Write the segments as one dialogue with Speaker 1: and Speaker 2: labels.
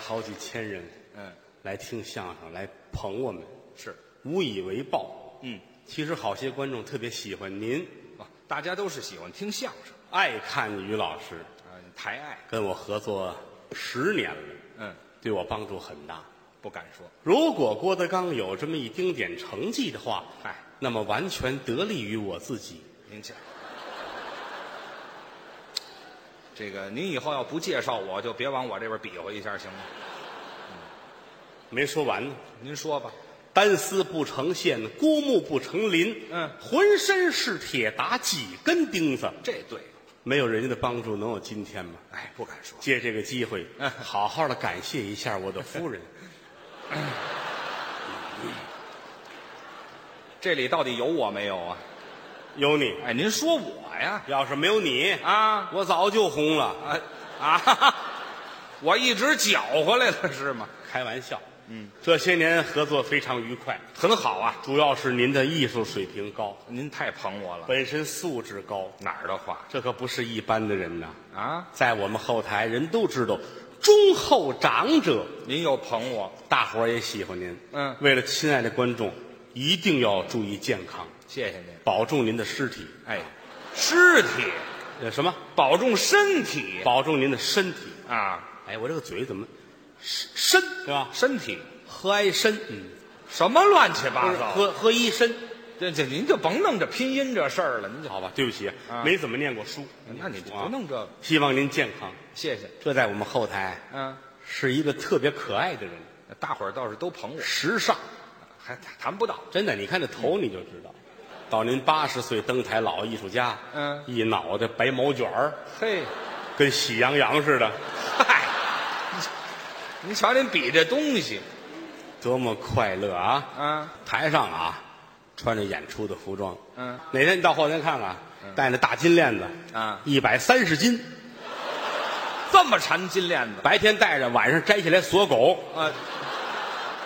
Speaker 1: 好几千人
Speaker 2: 嗯，
Speaker 1: 来听相声，来捧我们，
Speaker 2: 是，
Speaker 1: 无以为报。
Speaker 2: 嗯，
Speaker 1: 其实好些观众特别喜欢您，
Speaker 2: 哇大家都是喜欢听相声
Speaker 1: 爱看于老师，
Speaker 2: 啊，抬爱，
Speaker 1: 跟我合作十年了，
Speaker 2: 嗯，
Speaker 1: 对我帮助很大。
Speaker 2: 不敢说，
Speaker 1: 如果郭德纲有这么一丁点成绩的话，
Speaker 2: 嗨，
Speaker 1: 那么完全得力于我自己。
Speaker 2: 哎您 这，这个您以后要不介绍我，就别往我这边比划一下，行吗？
Speaker 1: 没说完呢，
Speaker 2: 您说吧，
Speaker 1: 单丝不成线，孤木不成林。
Speaker 2: 嗯
Speaker 1: 浑身是铁，打几根钉子。
Speaker 2: 这对，
Speaker 1: 没有人家的帮助，能有今天吗？
Speaker 2: 哎，不敢说，
Speaker 1: 借这个机会，
Speaker 2: 嗯
Speaker 1: 好好的感谢一下我的夫人。
Speaker 2: 这里到底有我没有啊？
Speaker 1: 有你，
Speaker 2: 哎，您说我呀？
Speaker 1: 要是没有你，
Speaker 2: 啊
Speaker 1: 我早就红了。
Speaker 2: 啊啊！ 哈哈我一直搅和来了是吗？
Speaker 1: 开玩笑，嗯，这些年合作非常愉快，
Speaker 2: 很好啊，
Speaker 1: 主要是您的艺术水平高，
Speaker 2: 您太捧我了，
Speaker 1: 本身素质高，
Speaker 2: 哪儿的话
Speaker 1: 这可不是一般的人呐。
Speaker 2: 啊？
Speaker 1: 在我们后台，人都知道，忠厚长者，
Speaker 2: 您又捧我，
Speaker 1: 大伙儿也喜欢您。
Speaker 2: 嗯
Speaker 1: 为了亲爱的观众，一定要注意健康，
Speaker 2: 谢谢您。
Speaker 1: 保重您的尸体。
Speaker 2: 哎，尸体，
Speaker 1: 呃，什么？
Speaker 2: 保重身体
Speaker 1: 保重您的身体。
Speaker 2: 啊，
Speaker 1: 哎，我这个嘴怎么参对吧？
Speaker 2: 身体
Speaker 1: 和蔼参，嗯，
Speaker 2: 什么乱七
Speaker 1: 不
Speaker 2: 八
Speaker 1: 是
Speaker 2: 糟？
Speaker 1: 和和一参，
Speaker 2: 这这您就甭弄这拼音这事儿了，您就
Speaker 1: 好吧？对不起，
Speaker 2: 啊
Speaker 1: 没怎么念过书，
Speaker 2: 那你就
Speaker 1: 啊
Speaker 2: 不弄这个，
Speaker 1: 希望您健康。
Speaker 2: 谢谢。
Speaker 1: 这在我们后台
Speaker 2: 嗯，
Speaker 1: 是一个特别可爱的人，
Speaker 2: 大伙儿倒是都捧我，
Speaker 1: 时尚，
Speaker 2: 还谈谈不到。
Speaker 1: 真的，你看这头你就知道。到您八十岁登台老艺术家，
Speaker 2: 嗯
Speaker 1: 一脑袋白毛卷儿，
Speaker 2: 嘿，
Speaker 1: 跟喜羊羊似的，
Speaker 2: 嗨，您瞧您比这东西
Speaker 1: 多么快乐啊！
Speaker 2: 啊，
Speaker 1: 台上啊，穿着演出的服装，
Speaker 2: 嗯，
Speaker 1: 哪天你到后台看看，戴那大金链子，
Speaker 2: 啊
Speaker 1: 一百三十斤，
Speaker 2: 这么缠金链子
Speaker 1: 白天戴着，晚上摘下来锁狗，
Speaker 2: 啊！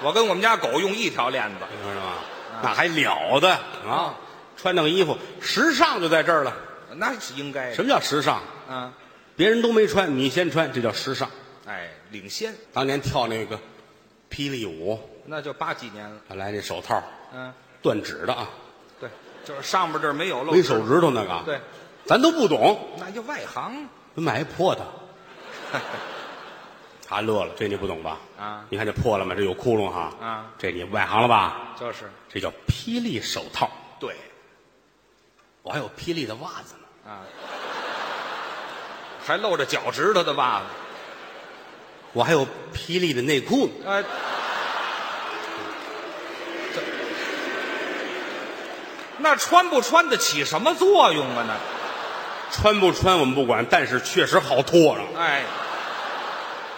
Speaker 2: 我跟我们家狗用一条链子，
Speaker 1: 你知道吗？那还了得啊！穿那个衣服，时尚就在这儿了。
Speaker 2: 那是应该
Speaker 1: 什么叫时尚？
Speaker 2: 么啊？
Speaker 1: 别人都没穿，你先穿，这叫时尚。
Speaker 2: 哎，领先，
Speaker 1: 当年跳那个霹雳舞，
Speaker 2: 那就八几年了。
Speaker 1: 本来那手套
Speaker 2: 嗯，
Speaker 1: 断指的啊，
Speaker 2: 对，就是上边这儿没有露
Speaker 1: 没
Speaker 2: 指
Speaker 1: 手指头那个啊，
Speaker 2: 对，
Speaker 1: 咱都不懂，
Speaker 2: 那就外行
Speaker 1: 买一破的。他乐了，这你不懂吧？
Speaker 2: 啊
Speaker 1: 你看这破了吗？这有窟窿哈。
Speaker 2: 啊，
Speaker 1: 这你外行了吧？
Speaker 2: 就是
Speaker 1: 这叫霹雳手套，
Speaker 2: 对
Speaker 1: 我还有霹雳的袜子呢。
Speaker 2: 啊，还露着脚趾头的袜子，
Speaker 1: 我还有霹雳的内裤呢。
Speaker 2: 啊，这那穿不穿得起什么作用啊？那
Speaker 1: 穿不穿我们不管，但是确实好脱了。
Speaker 2: 哎，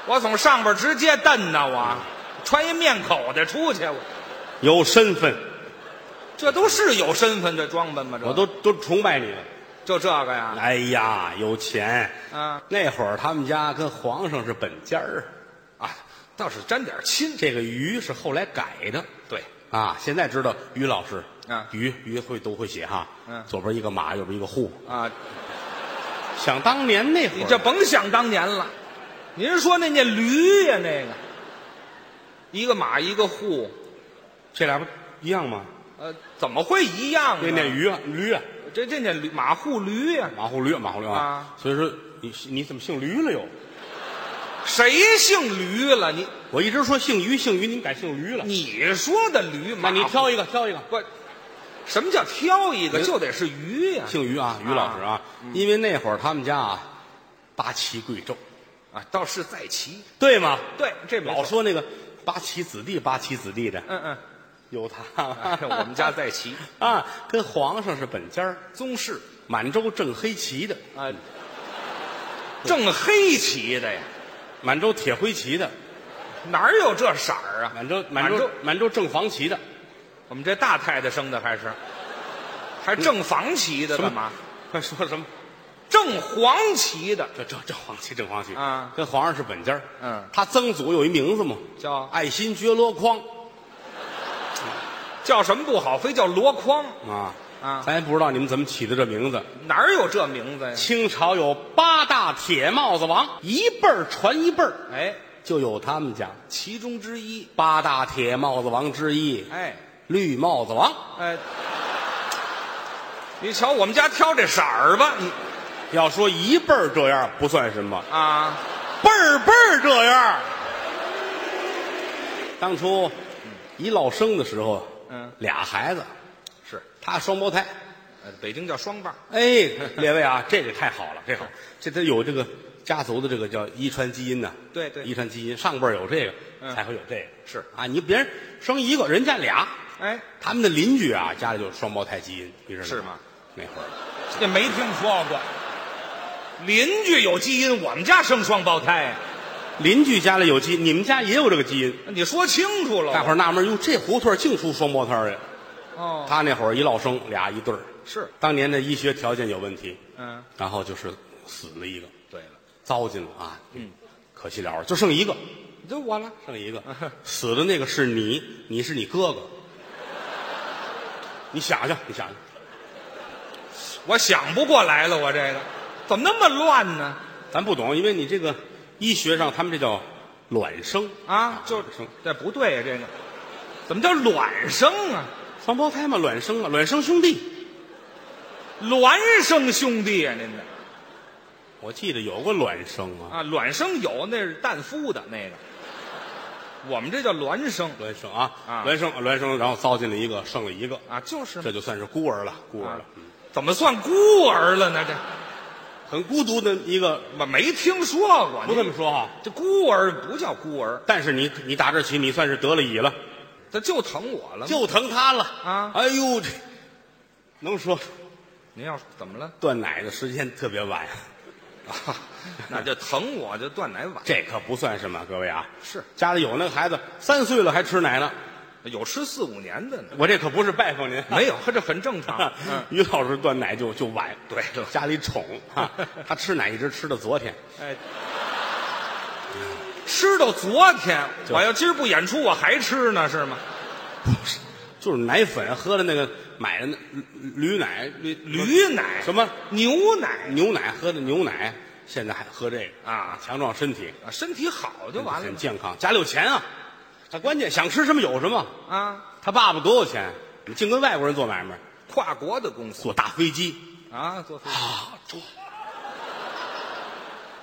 Speaker 2: 我从上边直接蹬呐，我穿一面口袋出去，我
Speaker 1: 有身份，
Speaker 2: 这都是有身份的装扮吗？这
Speaker 1: 我都都崇拜你了。
Speaker 2: 就这个呀？
Speaker 1: 哎呀，有钱！
Speaker 2: 啊
Speaker 1: 那会儿他们家跟皇上是本家儿，
Speaker 2: 啊，倒是沾点亲，
Speaker 1: 这个于是后来改的
Speaker 2: 对，
Speaker 1: 啊。现在知道于老师，
Speaker 2: 嗯
Speaker 1: 于于会都会写哈，
Speaker 2: 嗯
Speaker 1: 左边一个马，右边一个户。
Speaker 2: 啊，
Speaker 1: 想当年那会儿，
Speaker 2: 你这甭想当年了，您说那那驴呀、那个一个马一个户，
Speaker 1: 这俩不一样吗？
Speaker 2: 呃，怎么会一样
Speaker 1: 那
Speaker 2: 呢？
Speaker 1: 那驴啊，驴啊，
Speaker 2: 这这那驴马户驴呀、
Speaker 1: 马户驴，马户驴
Speaker 2: 啊
Speaker 1: 所以说你你怎么姓驴了又？
Speaker 2: 谁姓驴了？你
Speaker 1: 我一直说姓于，姓于，你们改姓驴了。
Speaker 2: 你说的驴马
Speaker 1: 那
Speaker 2: 户，
Speaker 1: 你挑一个，挑一个。
Speaker 2: 不？什么叫挑一个？
Speaker 1: 您
Speaker 2: 就得是驴呀、
Speaker 1: 姓于啊，于老师啊，因为那会儿他们家啊，八旗贵胄，
Speaker 2: 啊！倒是在骑，
Speaker 1: 对吗？
Speaker 2: 对，这没
Speaker 1: 老
Speaker 2: 错
Speaker 1: 说那个八旗子弟，八旗子弟的，
Speaker 2: 嗯嗯，
Speaker 1: 有他。
Speaker 2: 哎我们家在骑，
Speaker 1: 啊，跟皇上是本家儿，
Speaker 2: 宗室
Speaker 1: 满洲正黑旗的，
Speaker 2: 啊，正黑旗的呀，
Speaker 1: 满洲铁灰旗的，
Speaker 2: 哪儿有这色儿啊？
Speaker 1: 满洲满
Speaker 2: 满
Speaker 1: 洲
Speaker 2: 洲
Speaker 1: 满洲正黄旗的，
Speaker 2: 我们这大太太生的还是，还正房旗的
Speaker 1: 什么
Speaker 2: 干嘛？
Speaker 1: 快说什么？
Speaker 2: 正黄旗的
Speaker 1: 这这这黄旗，正黄旗
Speaker 2: 啊
Speaker 1: 跟皇上是本家儿
Speaker 2: 嗯
Speaker 1: 他曾祖有一名字嘛，
Speaker 2: 叫
Speaker 1: 爱新觉罗匡
Speaker 2: 叫什么不好，非叫箩筐，
Speaker 1: 啊
Speaker 2: 啊
Speaker 1: 咱也不知道你们怎么起的这名字。
Speaker 2: 哪儿有这名字呀？
Speaker 1: 清朝有八大铁帽子王，一辈儿传一辈儿，
Speaker 2: 哎，
Speaker 1: 就有他们家
Speaker 2: 其中之一。
Speaker 1: 八大铁帽子王之一，
Speaker 2: 哎
Speaker 1: 绿帽子王。
Speaker 2: 哎，你瞧我们家挑这色儿吧，你
Speaker 1: 要说一辈儿这样不算什么，
Speaker 2: 啊，
Speaker 1: 辈儿辈儿这样。当初一落生的时候，
Speaker 2: 嗯
Speaker 1: 俩孩子，
Speaker 2: 是，
Speaker 1: 他双胞胎。
Speaker 2: 呃北京叫双棒，
Speaker 1: 哎， 列位啊，这个太好了，这好，这他有这个家族的这个叫遗传基因呐、
Speaker 2: 对对
Speaker 1: 遗传基因上辈儿有这个，
Speaker 2: 嗯
Speaker 1: 才会有这个。
Speaker 2: 是
Speaker 1: 啊，你别人生一个，人家俩，
Speaker 2: 哎，
Speaker 1: 他们的邻居啊，家里就是双胞胎基因，你知道
Speaker 2: 是吗？
Speaker 1: 那会儿
Speaker 2: 这没听说过。邻居有基因，我们家生双胞胎呀、
Speaker 1: 邻居家里有基因，你们家也有这个基因。
Speaker 2: 你说清楚了。
Speaker 1: 大伙儿纳闷，哟，这胡同儿净出双胞胎儿呀！
Speaker 2: 哦，
Speaker 1: 他那会儿一落生俩一对儿，
Speaker 2: 是，
Speaker 1: 当年的医学条件有问题，
Speaker 2: 嗯，
Speaker 1: 然后就是死了一个，
Speaker 2: 对了，
Speaker 1: 糟践了啊，嗯，可惜了，就剩一个，
Speaker 2: 就我了。
Speaker 1: 剩一个，死的那个是你，你是你哥哥。你想想，你想想，
Speaker 2: 我想不过来了，我这个怎么那么乱呢？
Speaker 1: 咱不懂，因为你这个医学上他们这叫卵生
Speaker 2: 啊，就
Speaker 1: 卵生
Speaker 2: 这不对呀、这个怎么叫卵生啊？
Speaker 1: 双胞胎嘛，卵生嘛，卵生兄弟。
Speaker 2: 孪生兄弟呀、您这
Speaker 1: 我记得有过卵生啊，
Speaker 2: 啊，卵生有那是蛋孵的那个，我们这叫孪生
Speaker 1: 卵生啊，
Speaker 2: 啊
Speaker 1: 卵生卵生，然后糟践了一个，剩了一个，
Speaker 2: 啊，就是嘛
Speaker 1: 这就算是孤儿了，孤儿
Speaker 2: 啊
Speaker 1: 了，，
Speaker 2: 怎么算孤儿了呢？这啊
Speaker 1: 很孤独的一个，
Speaker 2: 我没听说过，
Speaker 1: 不这么说哈、
Speaker 2: 这孤儿不叫孤儿，
Speaker 1: 但是你你打这起，你算是得了乙了，
Speaker 2: 他就疼我了吗。
Speaker 1: 就疼他了
Speaker 2: 啊
Speaker 1: 哎呦，这能说
Speaker 2: 您要是怎 么了？
Speaker 1: 断奶的时间特别晚。
Speaker 2: 啊，那就疼我就断奶晚，
Speaker 1: 这可不算什么，各位啊，
Speaker 2: 是
Speaker 1: 家里有那个孩子三岁了还吃奶呢，
Speaker 2: 有吃四五年的呢，
Speaker 1: 我这可不是拜访您，
Speaker 2: 没有，这很 正常。嗯，
Speaker 1: 于老师断奶就就晚，
Speaker 2: 对了
Speaker 1: 家里 宠啊，他吃奶一直吃到昨天，
Speaker 2: 哎，吃到昨天，
Speaker 1: 就
Speaker 2: 我要今儿不演出，我还吃呢，是吗？
Speaker 1: 就是奶粉喝的那个买的那驴驴奶驴
Speaker 2: 驴奶
Speaker 1: 什么
Speaker 2: 牛奶
Speaker 1: 牛奶喝的牛奶，现在还喝这个
Speaker 2: 啊
Speaker 1: 强壮身体，
Speaker 2: 啊，身体好就完了
Speaker 1: 很
Speaker 2: 嘛
Speaker 1: 健康，家里有钱啊，他关键想吃什么有什么，
Speaker 2: 啊，
Speaker 1: 他爸爸多有钱，净跟外国人做买卖，
Speaker 2: 跨国的公司
Speaker 1: 坐大飞机
Speaker 2: 啊，坐飞机
Speaker 1: 啊，住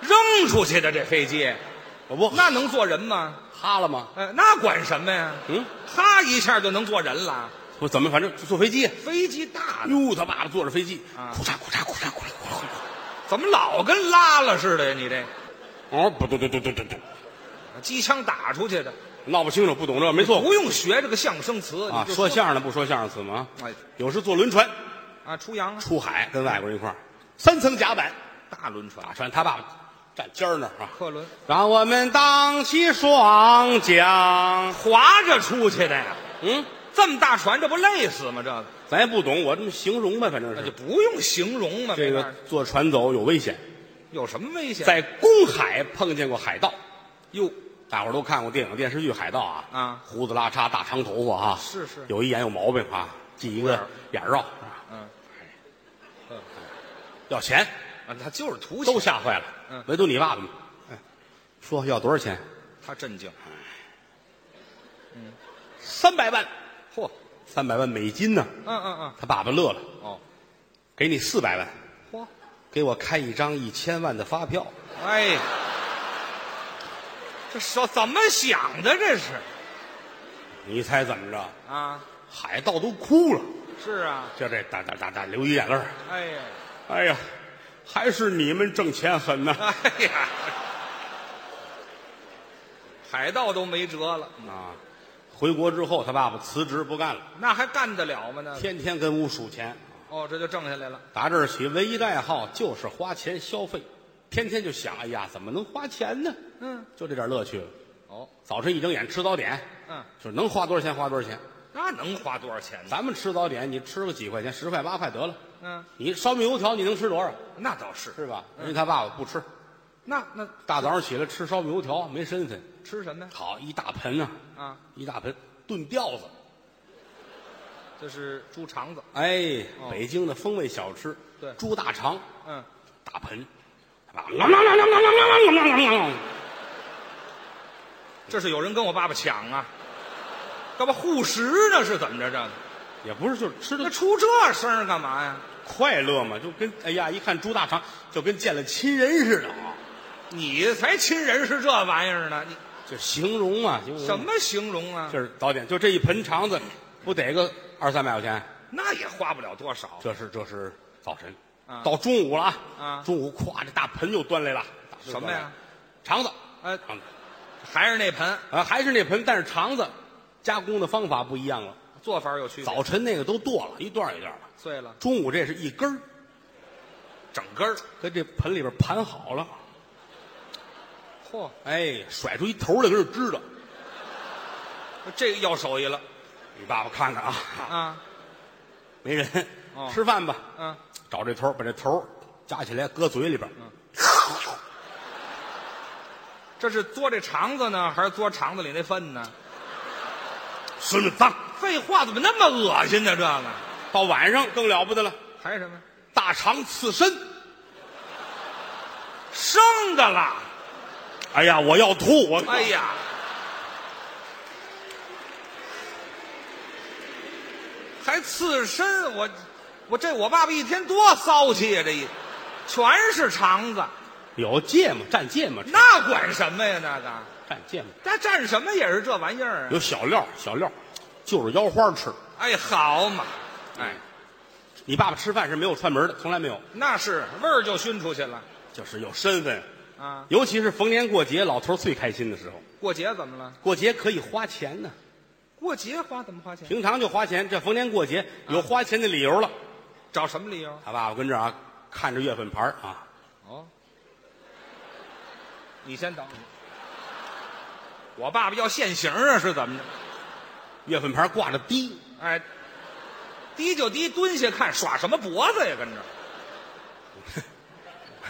Speaker 2: 扔出去的这飞机，
Speaker 1: 我不
Speaker 2: 那能坐人吗？
Speaker 1: 哈了吗？
Speaker 2: 呃，那管什么呀？
Speaker 1: 嗯，
Speaker 2: 他一下就能坐人了，
Speaker 1: 我怎么反正就坐飞机？
Speaker 2: 飞机大呢，
Speaker 1: 哟，他爸爸坐着飞机，
Speaker 2: 啊
Speaker 1: 库嚓库嚓库嚓库嚓库嚓，
Speaker 2: 怎么老跟拉了似的呀？你这啊
Speaker 1: 哦，不对对对对对对，
Speaker 2: 机枪打出去的，
Speaker 1: 闹不清楚，不懂这，没做过
Speaker 2: 不用学这个相声词
Speaker 1: 啊。
Speaker 2: 你就
Speaker 1: 说相声的不说相声词吗？
Speaker 2: 哎
Speaker 1: 有时坐轮船
Speaker 2: 啊，出洋啊
Speaker 1: 出海，跟外国人一块儿，三层甲板
Speaker 2: 大轮船
Speaker 1: 打船，他爸爸站尖儿那儿啊，
Speaker 2: 客轮。
Speaker 1: 让我们荡起双桨。
Speaker 2: 划着出去的呀。
Speaker 1: 嗯，
Speaker 2: 这么大船，这不累死吗？这个
Speaker 1: 咱也不懂，我这么形容吧，反正
Speaker 2: 那就是不用形容嘛。
Speaker 1: 这
Speaker 2: 没法
Speaker 1: 个坐船走有危险，
Speaker 2: 有什么危险？
Speaker 1: 在公海碰见过海盗。
Speaker 2: 哟，
Speaker 1: 大伙儿都看过电影电视剧《海盗》啊，
Speaker 2: 啊
Speaker 1: 胡子拉碴、大长头发啊，
Speaker 2: 是是
Speaker 1: 有一眼有毛病啊，系一个眼儿绕，啊
Speaker 2: 嗯，
Speaker 1: 要钱，
Speaker 2: 啊，他就是图
Speaker 1: 都
Speaker 2: 钱，
Speaker 1: 吓坏了，
Speaker 2: 嗯
Speaker 1: 唯独你爸爸嘛，哎说要多少钱？
Speaker 2: 他震惊。
Speaker 1: 三百万，
Speaker 2: 嚯，
Speaker 1: 三百万美金呢、
Speaker 2: 嗯嗯
Speaker 1: 他爸爸乐了，
Speaker 2: 嗯，哦，
Speaker 1: 给你四百万，
Speaker 2: 嚯，
Speaker 1: 给我开一张一千万的发票。
Speaker 2: 哎，这是怎么想的？这是
Speaker 1: 你猜怎么着？
Speaker 2: 啊，
Speaker 1: 海盗都哭了，
Speaker 2: 是啊，
Speaker 1: 就这哒哒哒哒流一眼泪儿。
Speaker 2: 哎呀，
Speaker 1: 哎呀，还是你们挣钱狠呐！
Speaker 2: 哎呀，海盗都没辙了，
Speaker 1: 啊，回国之后，他爸爸辞职不干了。
Speaker 2: 那还干得了吗？那
Speaker 1: 天天跟屋数钱，
Speaker 2: 哦，这就挣下来了。
Speaker 1: 打这儿起，唯一的爱好就是花钱消费，天天就想，哎呀，怎么能花钱呢？
Speaker 2: 嗯，
Speaker 1: 就这点乐趣了。
Speaker 2: 哦，
Speaker 1: 早晨一睁眼吃早点，
Speaker 2: 嗯，
Speaker 1: 就是能花多少钱花多少钱。
Speaker 2: 那能花多少钱呢？
Speaker 1: 咱们吃早点，你吃个几块钱，十块八块得了。
Speaker 2: 嗯，
Speaker 1: 你烧饼油条你能吃多少？
Speaker 2: 那倒是。
Speaker 1: 是吧？人家他爸爸不吃，
Speaker 2: 那那
Speaker 1: 大早上起来吃烧饼油条没身份。
Speaker 2: 吃什么呀？
Speaker 1: 好，一大盆啊，
Speaker 2: 啊，
Speaker 1: 一大盆炖吊子，
Speaker 2: 这是猪肠子，
Speaker 1: 哎，
Speaker 2: 哦
Speaker 1: 北京的风味小吃，
Speaker 2: 对
Speaker 1: 猪大肠，
Speaker 2: 嗯，
Speaker 1: 大盆，啊，啷啷啷啷啷啷啷啷啷啷啷啷啷，
Speaker 2: 这是有人跟我爸爸抢啊，干嘛护食呢？是怎么着？这个
Speaker 1: 也不是就是吃
Speaker 2: 那
Speaker 1: 的
Speaker 2: 出这声儿干嘛呀？
Speaker 1: 快乐嘛，就跟哎呀一看猪大肠就跟见了亲人似的啊，
Speaker 2: 你才亲人是这玩意儿呢？你
Speaker 1: 就形容啊，形容
Speaker 2: 什么形容啊？
Speaker 1: 就是早点就这一盆肠子，不得个二三百块钱？
Speaker 2: 那也花不了多少。
Speaker 1: 这是这是早晨
Speaker 2: 啊，
Speaker 1: 到中午了
Speaker 2: 啊
Speaker 1: 中午咵这大盆又端来了，大盆又
Speaker 2: 什么呀？
Speaker 1: 端来了？肠子，
Speaker 2: 呃，
Speaker 1: 肠子
Speaker 2: 还是那盆
Speaker 1: 啊，还是那盆，但是肠子加工的方法不一样了。
Speaker 2: 做法有区别，
Speaker 1: 早晨那个都剁了一段儿一段儿的，
Speaker 2: 碎了，
Speaker 1: 中午这是一根儿，
Speaker 2: 整根儿。
Speaker 1: 跟这盆里边盘好了，
Speaker 2: 嚯，
Speaker 1: 哎，甩出一头来跟这支着。
Speaker 2: 这个要手艺了
Speaker 1: 你爸爸看看啊，
Speaker 2: 啊！
Speaker 1: 没人
Speaker 2: 哦，
Speaker 1: 吃饭吧，
Speaker 2: 嗯，
Speaker 1: 找这头儿把这头儿夹起来搁嘴里边儿，
Speaker 2: 这是嘬这肠子呢，还是嘬肠子里那粪呢？
Speaker 1: 孙子脏。
Speaker 2: 废话，怎么那么恶心呢？这个
Speaker 1: 到晚上更了不得了，
Speaker 2: 还有什么
Speaker 1: 大肠刺身。
Speaker 2: 生的啦？
Speaker 1: 哎呀，我要吐！我
Speaker 2: 哎呀，还刺身，我我这我爸爸一天多骚气啊呀、这一全是肠子，
Speaker 1: 有芥末蘸芥末吃，
Speaker 2: 那管什么呀？那个
Speaker 1: 蘸芥末
Speaker 2: 那蘸什么也是这玩意儿啊！
Speaker 1: 有小料小料，就是腰花吃。
Speaker 2: 哎，好嘛，哎，
Speaker 1: 你爸爸吃饭是没有串门的，从来没有，
Speaker 2: 那是味儿就熏出去了
Speaker 1: 就是有身份。
Speaker 2: 啊！
Speaker 1: 尤其是逢年过节，老头儿最开心的时候。
Speaker 2: 过节怎么了？
Speaker 1: 过节可以花钱呢，
Speaker 2: 过节花怎么花钱？
Speaker 1: 平常就花钱，这逢年过节有花钱的理由了。
Speaker 2: 找什么理由？
Speaker 1: 他爸爸跟这儿啊，看着月份牌儿啊，
Speaker 2: 哦，你先等。我爸爸要现行啊，是怎么着？
Speaker 1: 月份牌儿挂着低，
Speaker 2: 哎，低就低，蹲下看，耍什么脖子呀？跟着，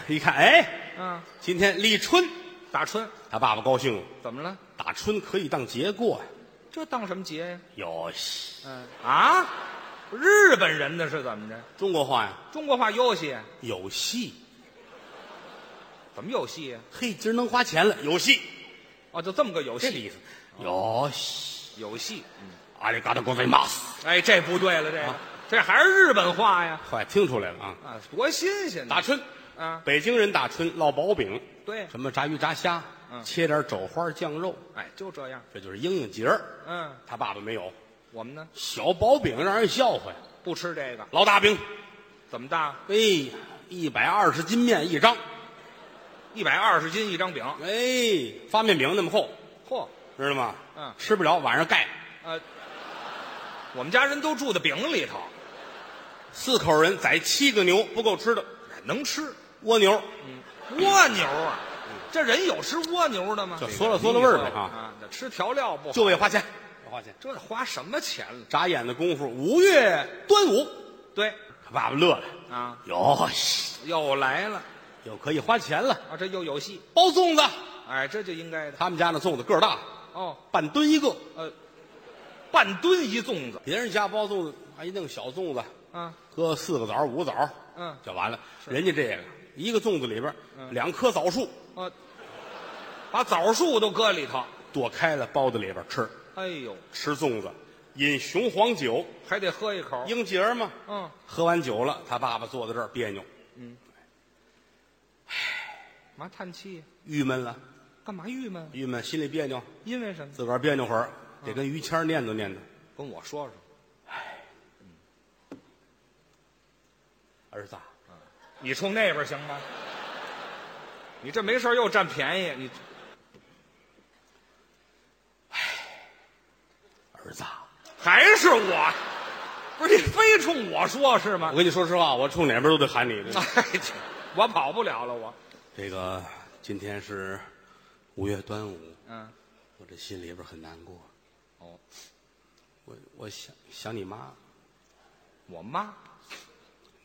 Speaker 1: 一看，哎，
Speaker 2: 嗯，
Speaker 1: 今天立春，
Speaker 2: 打春
Speaker 1: 他爸爸高兴了，
Speaker 2: 怎么了？
Speaker 1: 打春可以当节过呀。
Speaker 2: 这当什么节呀？
Speaker 1: 有
Speaker 2: 嗯啊，日本人的是怎么着？
Speaker 1: 中国话呀，
Speaker 2: 中国话有戏，啊
Speaker 1: 有戏。
Speaker 2: 怎么有戏呀？
Speaker 1: 嘿，今儿能花钱了，有戏，
Speaker 2: 哦，就这么个有
Speaker 1: 这个意
Speaker 2: 戏，
Speaker 1: 思。有戏，
Speaker 2: 有戏。
Speaker 1: 阿里嘎多国贼马斯，
Speaker 2: 哎，这不对了，这个、这还是日本话呀！
Speaker 1: 快听出来了啊！
Speaker 2: 啊，多新鲜呢！
Speaker 1: 打春，
Speaker 2: 啊，
Speaker 1: 北京人打春烙薄饼，
Speaker 2: 对，
Speaker 1: 什么炸鱼炸虾，
Speaker 2: 嗯
Speaker 1: 切点肘花酱肉，
Speaker 2: 哎，就这样。
Speaker 1: 这就是应应节儿。
Speaker 2: 嗯，
Speaker 1: 他爸爸没有
Speaker 2: 我们呢
Speaker 1: 小薄饼，让人笑话呀。
Speaker 2: 不吃这个，
Speaker 1: 老大饼，
Speaker 2: 怎么大？
Speaker 1: 哎呀，一百二十斤面一张，
Speaker 2: 一百二十斤一张饼。
Speaker 1: 哎，发面饼那么厚，
Speaker 2: 嚯，
Speaker 1: 知道吗？
Speaker 2: 嗯
Speaker 1: 吃不了，晚上盖。
Speaker 2: 呃，我们家人都住在饼里头，
Speaker 1: 四口人宰七个牛不够吃的，
Speaker 2: 哎能吃
Speaker 1: 蜗牛。
Speaker 2: 嗯蜗牛啊？这人有吃蜗牛的吗？
Speaker 1: 嗯就缩了缩了味儿呗啊
Speaker 2: 啊！那吃调料不好
Speaker 1: 就为花钱，花钱。
Speaker 2: 这花什么钱了？
Speaker 1: 眨眼的功夫，五月端午，
Speaker 2: 对
Speaker 1: 爸爸乐了，
Speaker 2: 啊，
Speaker 1: 哟，
Speaker 2: 又来了
Speaker 1: 又可以花钱了。
Speaker 2: 啊！这又有戏，
Speaker 1: 包粽子，
Speaker 2: 哎，这就应该的
Speaker 1: 他们家那粽子个儿大，
Speaker 2: 哦。
Speaker 1: 半吨一个。
Speaker 2: 呃，半吨一粽子
Speaker 1: 别人家包粽子，哎，弄小粽子，
Speaker 2: 啊，
Speaker 1: 搁四个枣、五个枣，
Speaker 2: 嗯
Speaker 1: 就完了。人家这个一个粽子里边两棵枣树，
Speaker 2: 呃，把枣树都搁里头。
Speaker 1: 剁开了包在里边吃，
Speaker 2: 哎呦，
Speaker 1: 吃粽子，饮雄黄酒，
Speaker 2: 还得喝一口。
Speaker 1: 应节儿嘛。
Speaker 2: 嗯，
Speaker 1: 喝完酒了，他爸爸坐在这儿别扭，
Speaker 2: 嘛叹气，
Speaker 1: 郁闷了，
Speaker 2: 干嘛郁闷？
Speaker 1: 郁闷，心里别扭，
Speaker 2: 因为什么？
Speaker 1: 自个儿别扭会儿，得跟于谦儿念叨念叨。
Speaker 2: 跟我说说。
Speaker 1: 儿子啊，
Speaker 2: 你冲那边行吗？你这没事儿又占便宜，你
Speaker 1: 儿子啊，
Speaker 2: 还是我，不是你非冲我说是吗
Speaker 1: 我？跟你说实话，我冲哪边都得喊你。
Speaker 2: 哎，这我跑不了了，我
Speaker 1: 这个今天是五月端午，
Speaker 2: 嗯，
Speaker 1: 我这心里边很难过。
Speaker 2: 哦，
Speaker 1: 我我想想你妈，
Speaker 2: 我妈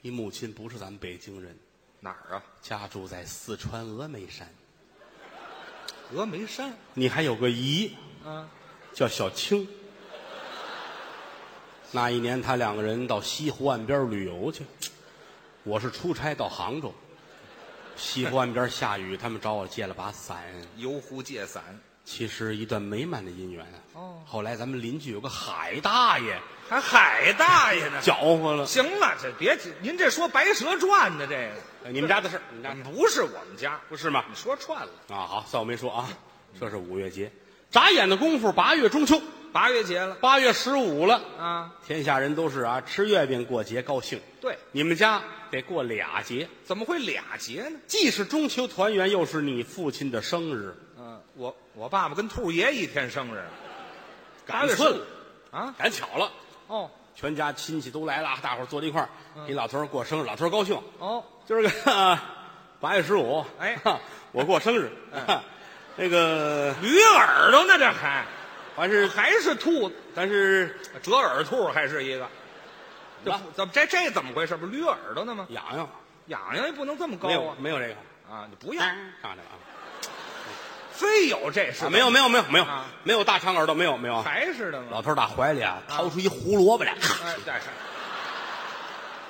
Speaker 1: 你母亲不是咱们北京人，
Speaker 2: 哪儿啊？
Speaker 1: 家住在四川峨眉山。
Speaker 2: 峨眉山，
Speaker 1: 你还有个姨
Speaker 2: 嗯，
Speaker 1: 叫小青。 那一年，他两个人到西湖岸边旅游去，我是出差到杭州。西湖岸边下雨，他们找我借了把伞。
Speaker 2: 游湖借伞，
Speaker 1: 其实一段美满的姻缘啊。
Speaker 2: 哦
Speaker 1: 后来咱们邻居有个海大爷
Speaker 2: 还海大爷呢。
Speaker 1: 搅和了，
Speaker 2: 行了，这别提您这说《白蛇传》的这个，
Speaker 1: 哎你们家的事儿，你们家的事儿
Speaker 2: 不是我们家，
Speaker 1: 不是吗？
Speaker 2: 你说串了。
Speaker 1: 啊，好，算我没说啊。这是五月节，眨眼的功夫，八月中秋，
Speaker 2: 八月节了
Speaker 1: 八月十五了，
Speaker 2: 啊，
Speaker 1: 天下人都是啊，吃月饼过节高兴。
Speaker 2: 对，
Speaker 1: 你们家得过俩节，
Speaker 2: 怎么会俩节呢？
Speaker 1: 既是中秋团圆，又是你父亲的生日，
Speaker 2: 嗯、我我爸爸跟兔爷一天生日
Speaker 1: 赶
Speaker 2: 八月十
Speaker 1: 寸
Speaker 2: 五
Speaker 1: 了，
Speaker 2: 啊，
Speaker 1: 赶巧了，
Speaker 2: 哦
Speaker 1: 全家亲戚都来了，大伙儿坐在一块儿，
Speaker 2: 嗯
Speaker 1: 给老头儿过生日，老头儿高兴。
Speaker 2: 哦，
Speaker 1: 今儿个八月十五，
Speaker 2: 哎嗯
Speaker 1: 我过生日，那个
Speaker 2: 驴耳朵呢，这还
Speaker 1: 完事，
Speaker 2: 还是兔子
Speaker 1: 但是
Speaker 2: 折耳兔，还是一个。
Speaker 1: 怎
Speaker 2: 这
Speaker 1: 么
Speaker 2: 怎么这这怎么回事？不是驴耳朵呢吗？
Speaker 1: 痒痒，
Speaker 2: 痒痒也不能这么高
Speaker 1: 没有
Speaker 2: 啊！
Speaker 1: 没有这个，
Speaker 2: 啊，你不要，
Speaker 1: 上来了啊。
Speaker 2: 非有这事、
Speaker 1: 啊，没有没有没有没有
Speaker 2: 啊
Speaker 1: 没有大长耳朵，没有没有
Speaker 2: 有
Speaker 1: 啊。
Speaker 2: 还是的吗？
Speaker 1: 老头儿打怀里啊，掏出一胡萝 卜来，
Speaker 2: 哎，这是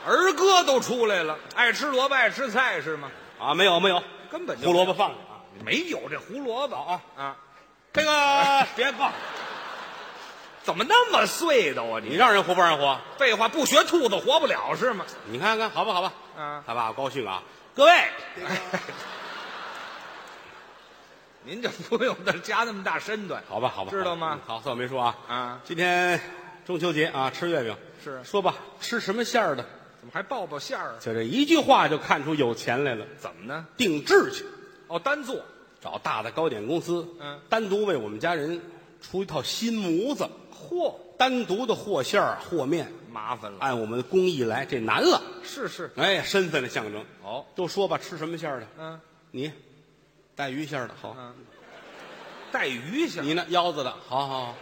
Speaker 2: 儿歌都出来了，爱吃萝卜爱吃菜是吗？
Speaker 1: 啊，没有没有，
Speaker 2: 根本就
Speaker 1: 胡萝卜放下啊。
Speaker 2: 没有这胡萝卜啊啊！
Speaker 1: 这个别放，
Speaker 2: 怎么那么碎的啊
Speaker 1: 你
Speaker 2: 你？
Speaker 1: 让人活不让人活？
Speaker 2: 废话，不学兔子活不了是吗？
Speaker 1: 你看看，好吧好吧。
Speaker 2: 啊
Speaker 1: 他爸高兴啊，各位，
Speaker 2: 您就不用再加那么大身段
Speaker 1: 好吧好吧，
Speaker 2: 知道
Speaker 1: 嗯
Speaker 2: 吗
Speaker 1: 好，算我没说啊。
Speaker 2: 啊！
Speaker 1: 今天中秋节啊，吃月饼
Speaker 2: 是
Speaker 1: 说吧，吃什么馅儿的？
Speaker 2: 怎么还抱抱馅儿啊？
Speaker 1: 就这一句话就看出有钱来了，
Speaker 2: 怎么呢？
Speaker 1: 定制去，
Speaker 2: 哦，单做
Speaker 1: 找大的糕点公司，
Speaker 2: 嗯，
Speaker 1: 单独为我们家人出一套新模子，
Speaker 2: 嚯，
Speaker 1: 单独的和馅儿和面。
Speaker 2: 麻烦了。
Speaker 1: 按我们的工艺来，这难了。
Speaker 2: 是是，
Speaker 1: 哎，身份的象征。
Speaker 2: 哦，
Speaker 1: 都说吧，吃什么馅儿的？
Speaker 2: 嗯、
Speaker 1: 你，带鱼馅儿的好。
Speaker 2: 嗯，带鱼馅儿
Speaker 1: 你呢？腰子的好好。好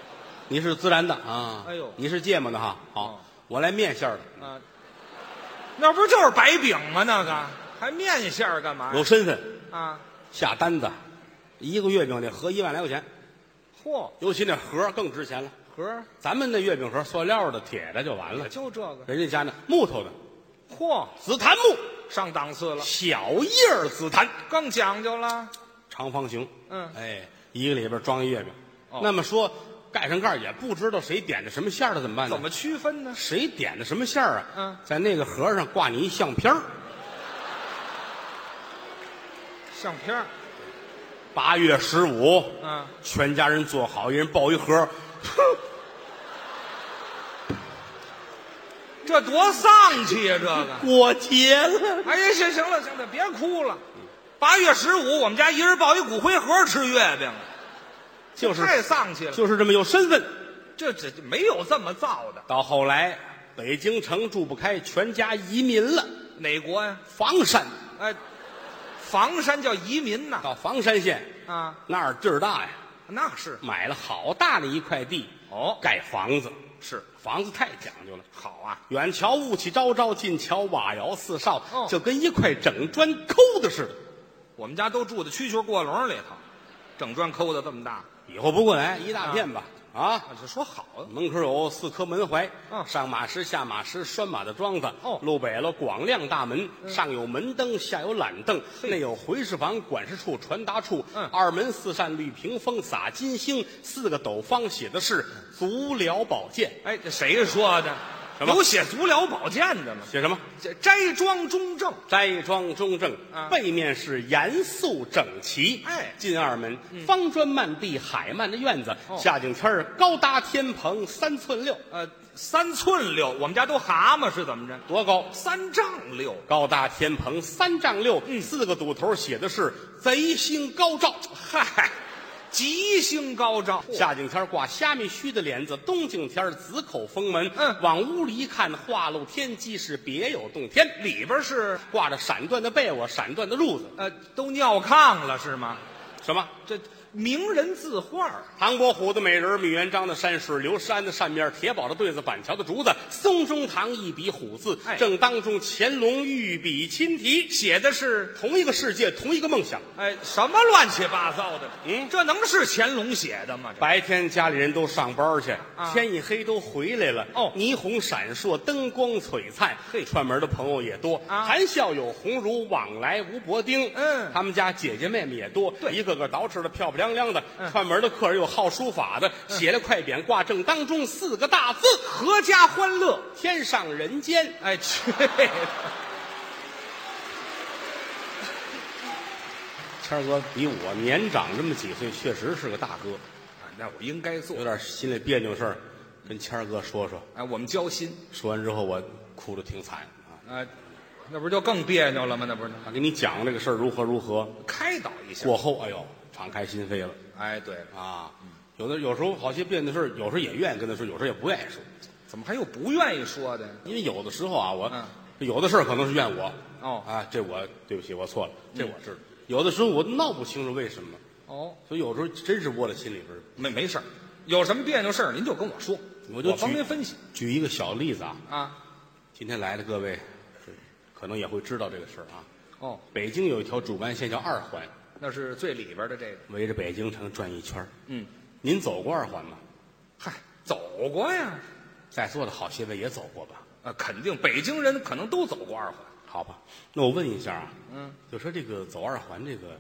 Speaker 1: 你是孜然的啊。
Speaker 2: 哎呦
Speaker 1: 你是芥末的哈。
Speaker 2: 哦
Speaker 1: 好，我来面馅儿的，
Speaker 2: 啊，那不就是白饼吗？那个还面馅儿干嘛呀？
Speaker 1: 有身份，
Speaker 2: 啊，
Speaker 1: 下单子，一个月饼得合一万来块钱，
Speaker 2: 嚯，
Speaker 1: 尤其那盒儿更值钱了。
Speaker 2: 盒儿
Speaker 1: 咱们那月饼盒，塑料的、铁的就完了
Speaker 2: 也，就这个，
Speaker 1: 人家家那木头的，
Speaker 2: 嚯，
Speaker 1: 紫檀木，
Speaker 2: 上档次了，
Speaker 1: 小叶儿紫檀，
Speaker 2: 更讲究了。
Speaker 1: 长方形。
Speaker 2: 嗯
Speaker 1: 哎，一个里边装一月饼。
Speaker 2: 哦
Speaker 1: 那么说，盖上盖儿也不知道谁点的什么馅儿的，怎么办呢？
Speaker 2: 怎么区分呢？
Speaker 1: 谁点的什么馅儿啊？
Speaker 2: 嗯
Speaker 1: 在那个盒上挂你一相片儿。
Speaker 2: 相片儿，
Speaker 1: 八月十五，
Speaker 2: 嗯，
Speaker 1: 全家人坐好，一人抱一盒。
Speaker 2: 这多丧气啊呀、这个。
Speaker 1: 过节了，
Speaker 2: 哎呀，行行了，行了，别哭了。八月十五，我们家一人抱一骨灰盒吃月饼，
Speaker 1: 就是
Speaker 2: 太丧气了。
Speaker 1: 就是这么有身份。
Speaker 2: 这这这没有这么造的，
Speaker 1: 到后来，北京城住不开，全家移民了，
Speaker 2: 哪国呀、
Speaker 1: 房山
Speaker 2: 哎，房山叫移民呐。
Speaker 1: 到房山县
Speaker 2: 啊，
Speaker 1: 那儿地儿大呀，
Speaker 2: 那是
Speaker 1: 买了好大的一块地，
Speaker 2: 哦，
Speaker 1: 盖房子。
Speaker 2: 是
Speaker 1: 房子太讲究了。
Speaker 2: 好啊，
Speaker 1: 远瞧雾气昭昭，近瞧瓦窑四少，
Speaker 2: 哦
Speaker 1: 就跟一块整砖抠的似的。
Speaker 2: 我们家都住在蛐蛐过笼里头，整砖抠的这么大，
Speaker 1: 以后不过来一大片吧？啊，
Speaker 2: 啊，这说好啊
Speaker 1: 门口有四颗门槐，
Speaker 2: 嗯
Speaker 1: 上马石、下马石、拴马的桩子，
Speaker 2: 哦嗯
Speaker 1: 路北了广亮大门，上有门灯，下有懒凳，内有回事房、管事处、传达处，
Speaker 2: 嗯
Speaker 1: 二门四扇绿屏风，撒金星，四个斗方写的是
Speaker 2: 嗯
Speaker 1: 足疗保健，
Speaker 2: 哎，这谁说的？
Speaker 1: 什么
Speaker 2: 有写足疗保健的吗？
Speaker 1: 写什么？
Speaker 2: 这斋庄中正，
Speaker 1: 斋庄中正，
Speaker 2: 啊
Speaker 1: 背面是严肃整齐。
Speaker 2: 哎
Speaker 1: 进二门，方砖漫地，海漫的院子。
Speaker 2: 哦
Speaker 1: 夏景天儿高搭天棚三寸六，
Speaker 2: 呃，三寸六，我们家都蛤蟆是怎么着？
Speaker 1: 多高？
Speaker 2: 三丈六，
Speaker 1: 高搭天棚三丈六，
Speaker 2: 嗯
Speaker 1: 四个堵头写的是贼星高照。
Speaker 2: 嗨，吉星高照。
Speaker 1: 夏景天儿挂虾米须的帘子，冬景天儿紫口封门。
Speaker 2: 嗯
Speaker 1: 往屋里一看，画露天机是别有洞天，
Speaker 2: 里边是
Speaker 1: 挂着闪缎的被窝，闪缎的褥子。
Speaker 2: 呃，都尿炕了是吗？
Speaker 1: 什么？
Speaker 2: 这名人字画儿
Speaker 1: 唐伯虎的美人儿，米元璋的山水，刘山的扇面儿，铁宝的对子，板桥的竹子，松中堂一笔虎字，
Speaker 2: 哎
Speaker 1: 正当中乾隆御笔亲题，
Speaker 2: 写的是
Speaker 1: 同一个世界，同一个梦想。
Speaker 2: 哎什么乱七八糟的？
Speaker 1: 嗯
Speaker 2: 这能是乾隆写的吗？这
Speaker 1: 白天家里人都上班去，
Speaker 2: 啊
Speaker 1: 天一黑都回来了。
Speaker 2: 哦
Speaker 1: 霓虹闪烁，灯光璀璨。
Speaker 2: 嘿
Speaker 1: 串门的朋友也多，
Speaker 2: 啊
Speaker 1: 谈笑有鸿儒，往来无薄丁。
Speaker 2: 嗯
Speaker 1: 他们家姐姐妹妹也多，
Speaker 2: 对
Speaker 1: 一个个捯饬的漂漂亮亮的，
Speaker 2: 嗯
Speaker 1: 串门的客人有好书法的，写了快匾挂正当中四个大 字
Speaker 2: 阖家欢乐。
Speaker 1: “天上人间
Speaker 2: 哎，去，”，
Speaker 1: 谦儿哥比我年长这么几岁，确实是个大哥，
Speaker 2: 那我应该做
Speaker 1: 有。点心里别扭事儿，跟谦儿哥说说。
Speaker 2: 哎，我们交心
Speaker 1: 说完之后，我哭的挺惨啊。
Speaker 2: 啊，那不是就更别扭了吗？那不是
Speaker 1: 他给你讲这个事儿如何如何，
Speaker 2: 开导一下。
Speaker 1: 过后，哎呦，敞开心扉了
Speaker 2: 哎，对了，
Speaker 1: 啊。有的有时候好些别扭事儿，有时候也愿意跟他说，有时候也不愿意说。
Speaker 2: 怎么还有不愿意说的？
Speaker 1: 因为有的时候啊，我、
Speaker 2: 嗯
Speaker 1: 有的事儿可能是怨我
Speaker 2: 哦
Speaker 1: 啊，这我对不起，我错了，这我知道。有的时候我闹不清楚为什么，
Speaker 2: 哦，
Speaker 1: 所以有时候真是窝在心里边儿。
Speaker 2: 没没事儿，有什么别扭事儿您就跟我说，
Speaker 1: 我就
Speaker 2: 帮
Speaker 1: 举
Speaker 2: 您分析
Speaker 1: 举一个小例子啊，
Speaker 2: 啊。
Speaker 1: 今天来的各位是可能也会知道这个事儿啊。
Speaker 2: 哦，
Speaker 1: 北京有一条主干线叫二环，
Speaker 2: 那是最里边的这个。
Speaker 1: 围着北京城转一圈儿
Speaker 2: 嗯，
Speaker 1: 您走过二环吗？
Speaker 2: 嗨，走过呀，
Speaker 1: 在座的好些位也走过吧？
Speaker 2: 啊，肯定北京人可能都走过二环。
Speaker 1: 好吧，那我问一下啊，
Speaker 2: 嗯，
Speaker 1: 就说这个走二环这个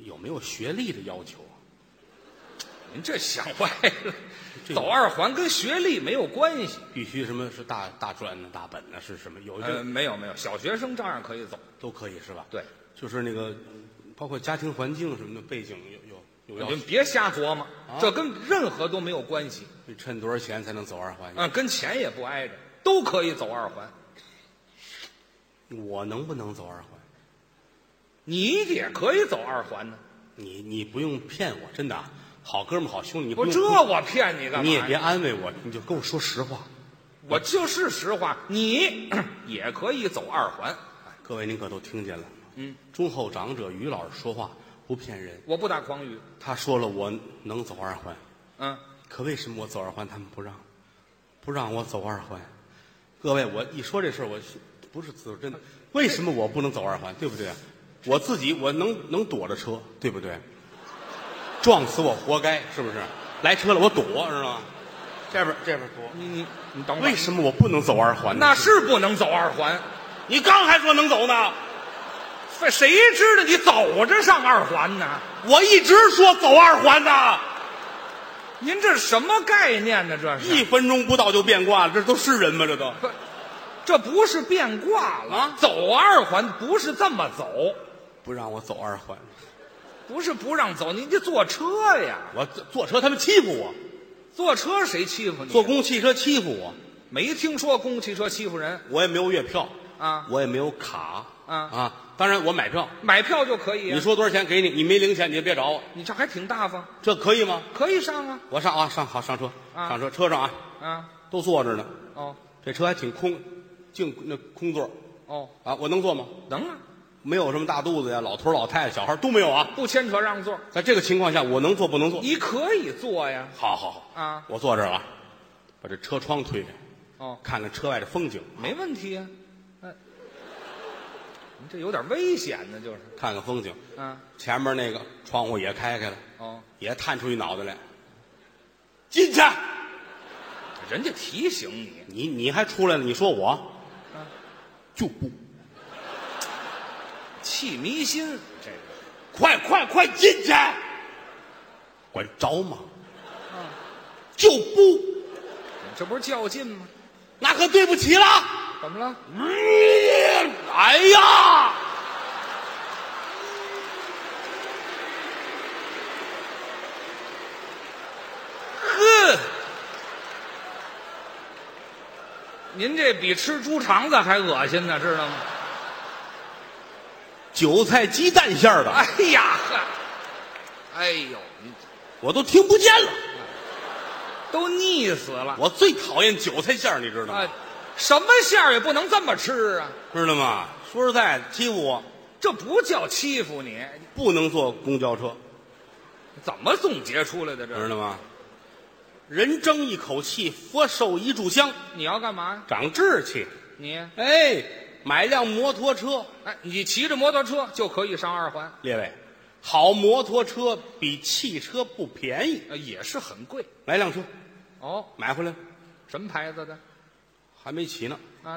Speaker 1: 有没有学历的要求啊？
Speaker 2: 您这想歪了，
Speaker 1: 这个
Speaker 2: 走二环跟学历没有关系。
Speaker 1: 必须什么是大大专呢、大本呢、是什么？有一
Speaker 2: 呃，
Speaker 1: 个
Speaker 2: 没有没有，小学生照样可以走。
Speaker 1: 都可以是吧？
Speaker 2: 对，
Speaker 1: 就是那个包括家庭环境什么的背景有有有要
Speaker 2: 您
Speaker 1: 求，
Speaker 2: 别瞎琢磨，
Speaker 1: 啊
Speaker 2: 这跟任何都没有关系。
Speaker 1: 你趁多少钱才能走二环？
Speaker 2: 嗯，跟钱也不挨着，都可以走二环。嗯
Speaker 1: 我能不能走二环？
Speaker 2: 你也可以走二环呢。
Speaker 1: 你你不用骗我，真的啊，好哥们儿好兄弟，你不
Speaker 2: 我
Speaker 1: 用
Speaker 2: 这我骗你干嘛？
Speaker 1: 你也别，安慰我，你就跟我说实话。
Speaker 2: 我就是实话，你 也可以走二环，
Speaker 1: 各位您可都听见了，嗯，忠厚长者于老师说话不骗人，
Speaker 2: 我不打诳语。
Speaker 1: 他说了我能走二环，
Speaker 2: 嗯，
Speaker 1: 可为什么我走二环他们不让，不让我走二环？各位，我一说这事儿，我是不是自真的。为什么我不能走二环？对不对？我自己我能能躲着车，对不对？撞死我活该，是不是？来车了我躲，知道吗？这边这边躲。
Speaker 2: 你你你等会
Speaker 1: 为
Speaker 2: 儿，
Speaker 1: 什么我不能走二环呢？
Speaker 2: 那是不能走二环。
Speaker 1: 你刚还说能走呢，
Speaker 2: 这谁知道你走着上二环呢？
Speaker 1: 我一直说走二环呢，
Speaker 2: 您这什么概念呢？这
Speaker 1: 一
Speaker 2: 是，
Speaker 1: 分钟不到就变卦了，这都是人吗？这都。
Speaker 2: 这不是变卦了？
Speaker 1: 啊
Speaker 2: 走二环不是这么走，
Speaker 1: 不让我走二环，
Speaker 2: 不是不让走，您得坐车呀。
Speaker 1: 我坐坐车他们欺负我，
Speaker 2: 坐车谁欺负你？啊
Speaker 1: 坐公共汽车欺负我，
Speaker 2: 没听说公共汽车欺负人，
Speaker 1: 我也没有月票
Speaker 2: 啊
Speaker 1: 我也没有卡
Speaker 2: 啊
Speaker 1: 啊，当然我买票，
Speaker 2: 买票就可以啊。
Speaker 1: 你说多少钱给你，你没零钱你就别找我，
Speaker 2: 你这还挺大方，
Speaker 1: 这可以吗？
Speaker 2: 可以上啊
Speaker 1: 我上啊上好上车
Speaker 2: 啊
Speaker 1: 上车车上啊
Speaker 2: 啊
Speaker 1: 都坐着呢，
Speaker 2: 哦
Speaker 1: 这车还挺空，净那空座
Speaker 2: 哦，
Speaker 1: 啊，我能坐吗？
Speaker 2: 能啊，
Speaker 1: 没有什么大肚子呀，老头儿老太太小孩儿都没有啊，
Speaker 2: 不牵扯让座，
Speaker 1: 在这个情况下我能坐不能坐？
Speaker 2: 你可以坐呀。
Speaker 1: 好好好
Speaker 2: 啊
Speaker 1: 我坐这儿了啊，把这车窗推开，
Speaker 2: 哦，
Speaker 1: 看看车外的风景，
Speaker 2: 没问题呀、啊。哎，你这有点危险呢，就是
Speaker 1: 看看风景。
Speaker 2: 啊
Speaker 1: 前面那个窗户也开开了，
Speaker 2: 哦，
Speaker 1: 也探出一脑袋来，进去。
Speaker 2: 人家提醒你，
Speaker 1: 你你还出来了？你说我，就不
Speaker 2: 气迷心，这个
Speaker 1: 快快快进去，管着吗？就不，
Speaker 2: 这不是较劲吗？
Speaker 1: 那可对不起了。
Speaker 2: 怎么了？
Speaker 1: 嗯哎呀，
Speaker 2: 呵，您这比吃猪肠子还恶心呢，知道吗？
Speaker 1: 韭菜鸡蛋馅儿的，
Speaker 2: 哎呀呵，哎呦，你
Speaker 1: 我都听不见了。
Speaker 2: 都腻死了。
Speaker 1: 我最讨厌韭菜馅儿，你知道
Speaker 2: 啊
Speaker 1: 吗？，
Speaker 2: 什么馅儿也不能这么吃啊！
Speaker 1: 知道吗？说实在，欺负我
Speaker 2: 这不叫欺负你，
Speaker 1: 不能坐公交车。
Speaker 2: 怎么总结出来的这？
Speaker 1: 知道吗？人争一口气，佛受一炷香，
Speaker 2: 你要干嘛呀？
Speaker 1: 长志气。
Speaker 2: 你
Speaker 1: 哎，买辆摩托车，
Speaker 2: 哎，你骑着摩托车就可以上二环，
Speaker 1: 列位，好摩托车比汽车不便宜。
Speaker 2: 呃也是很贵
Speaker 1: 来辆车，
Speaker 2: 哦。
Speaker 1: 买回来了
Speaker 2: 什么牌子的
Speaker 1: 还没骑呢
Speaker 2: 啊？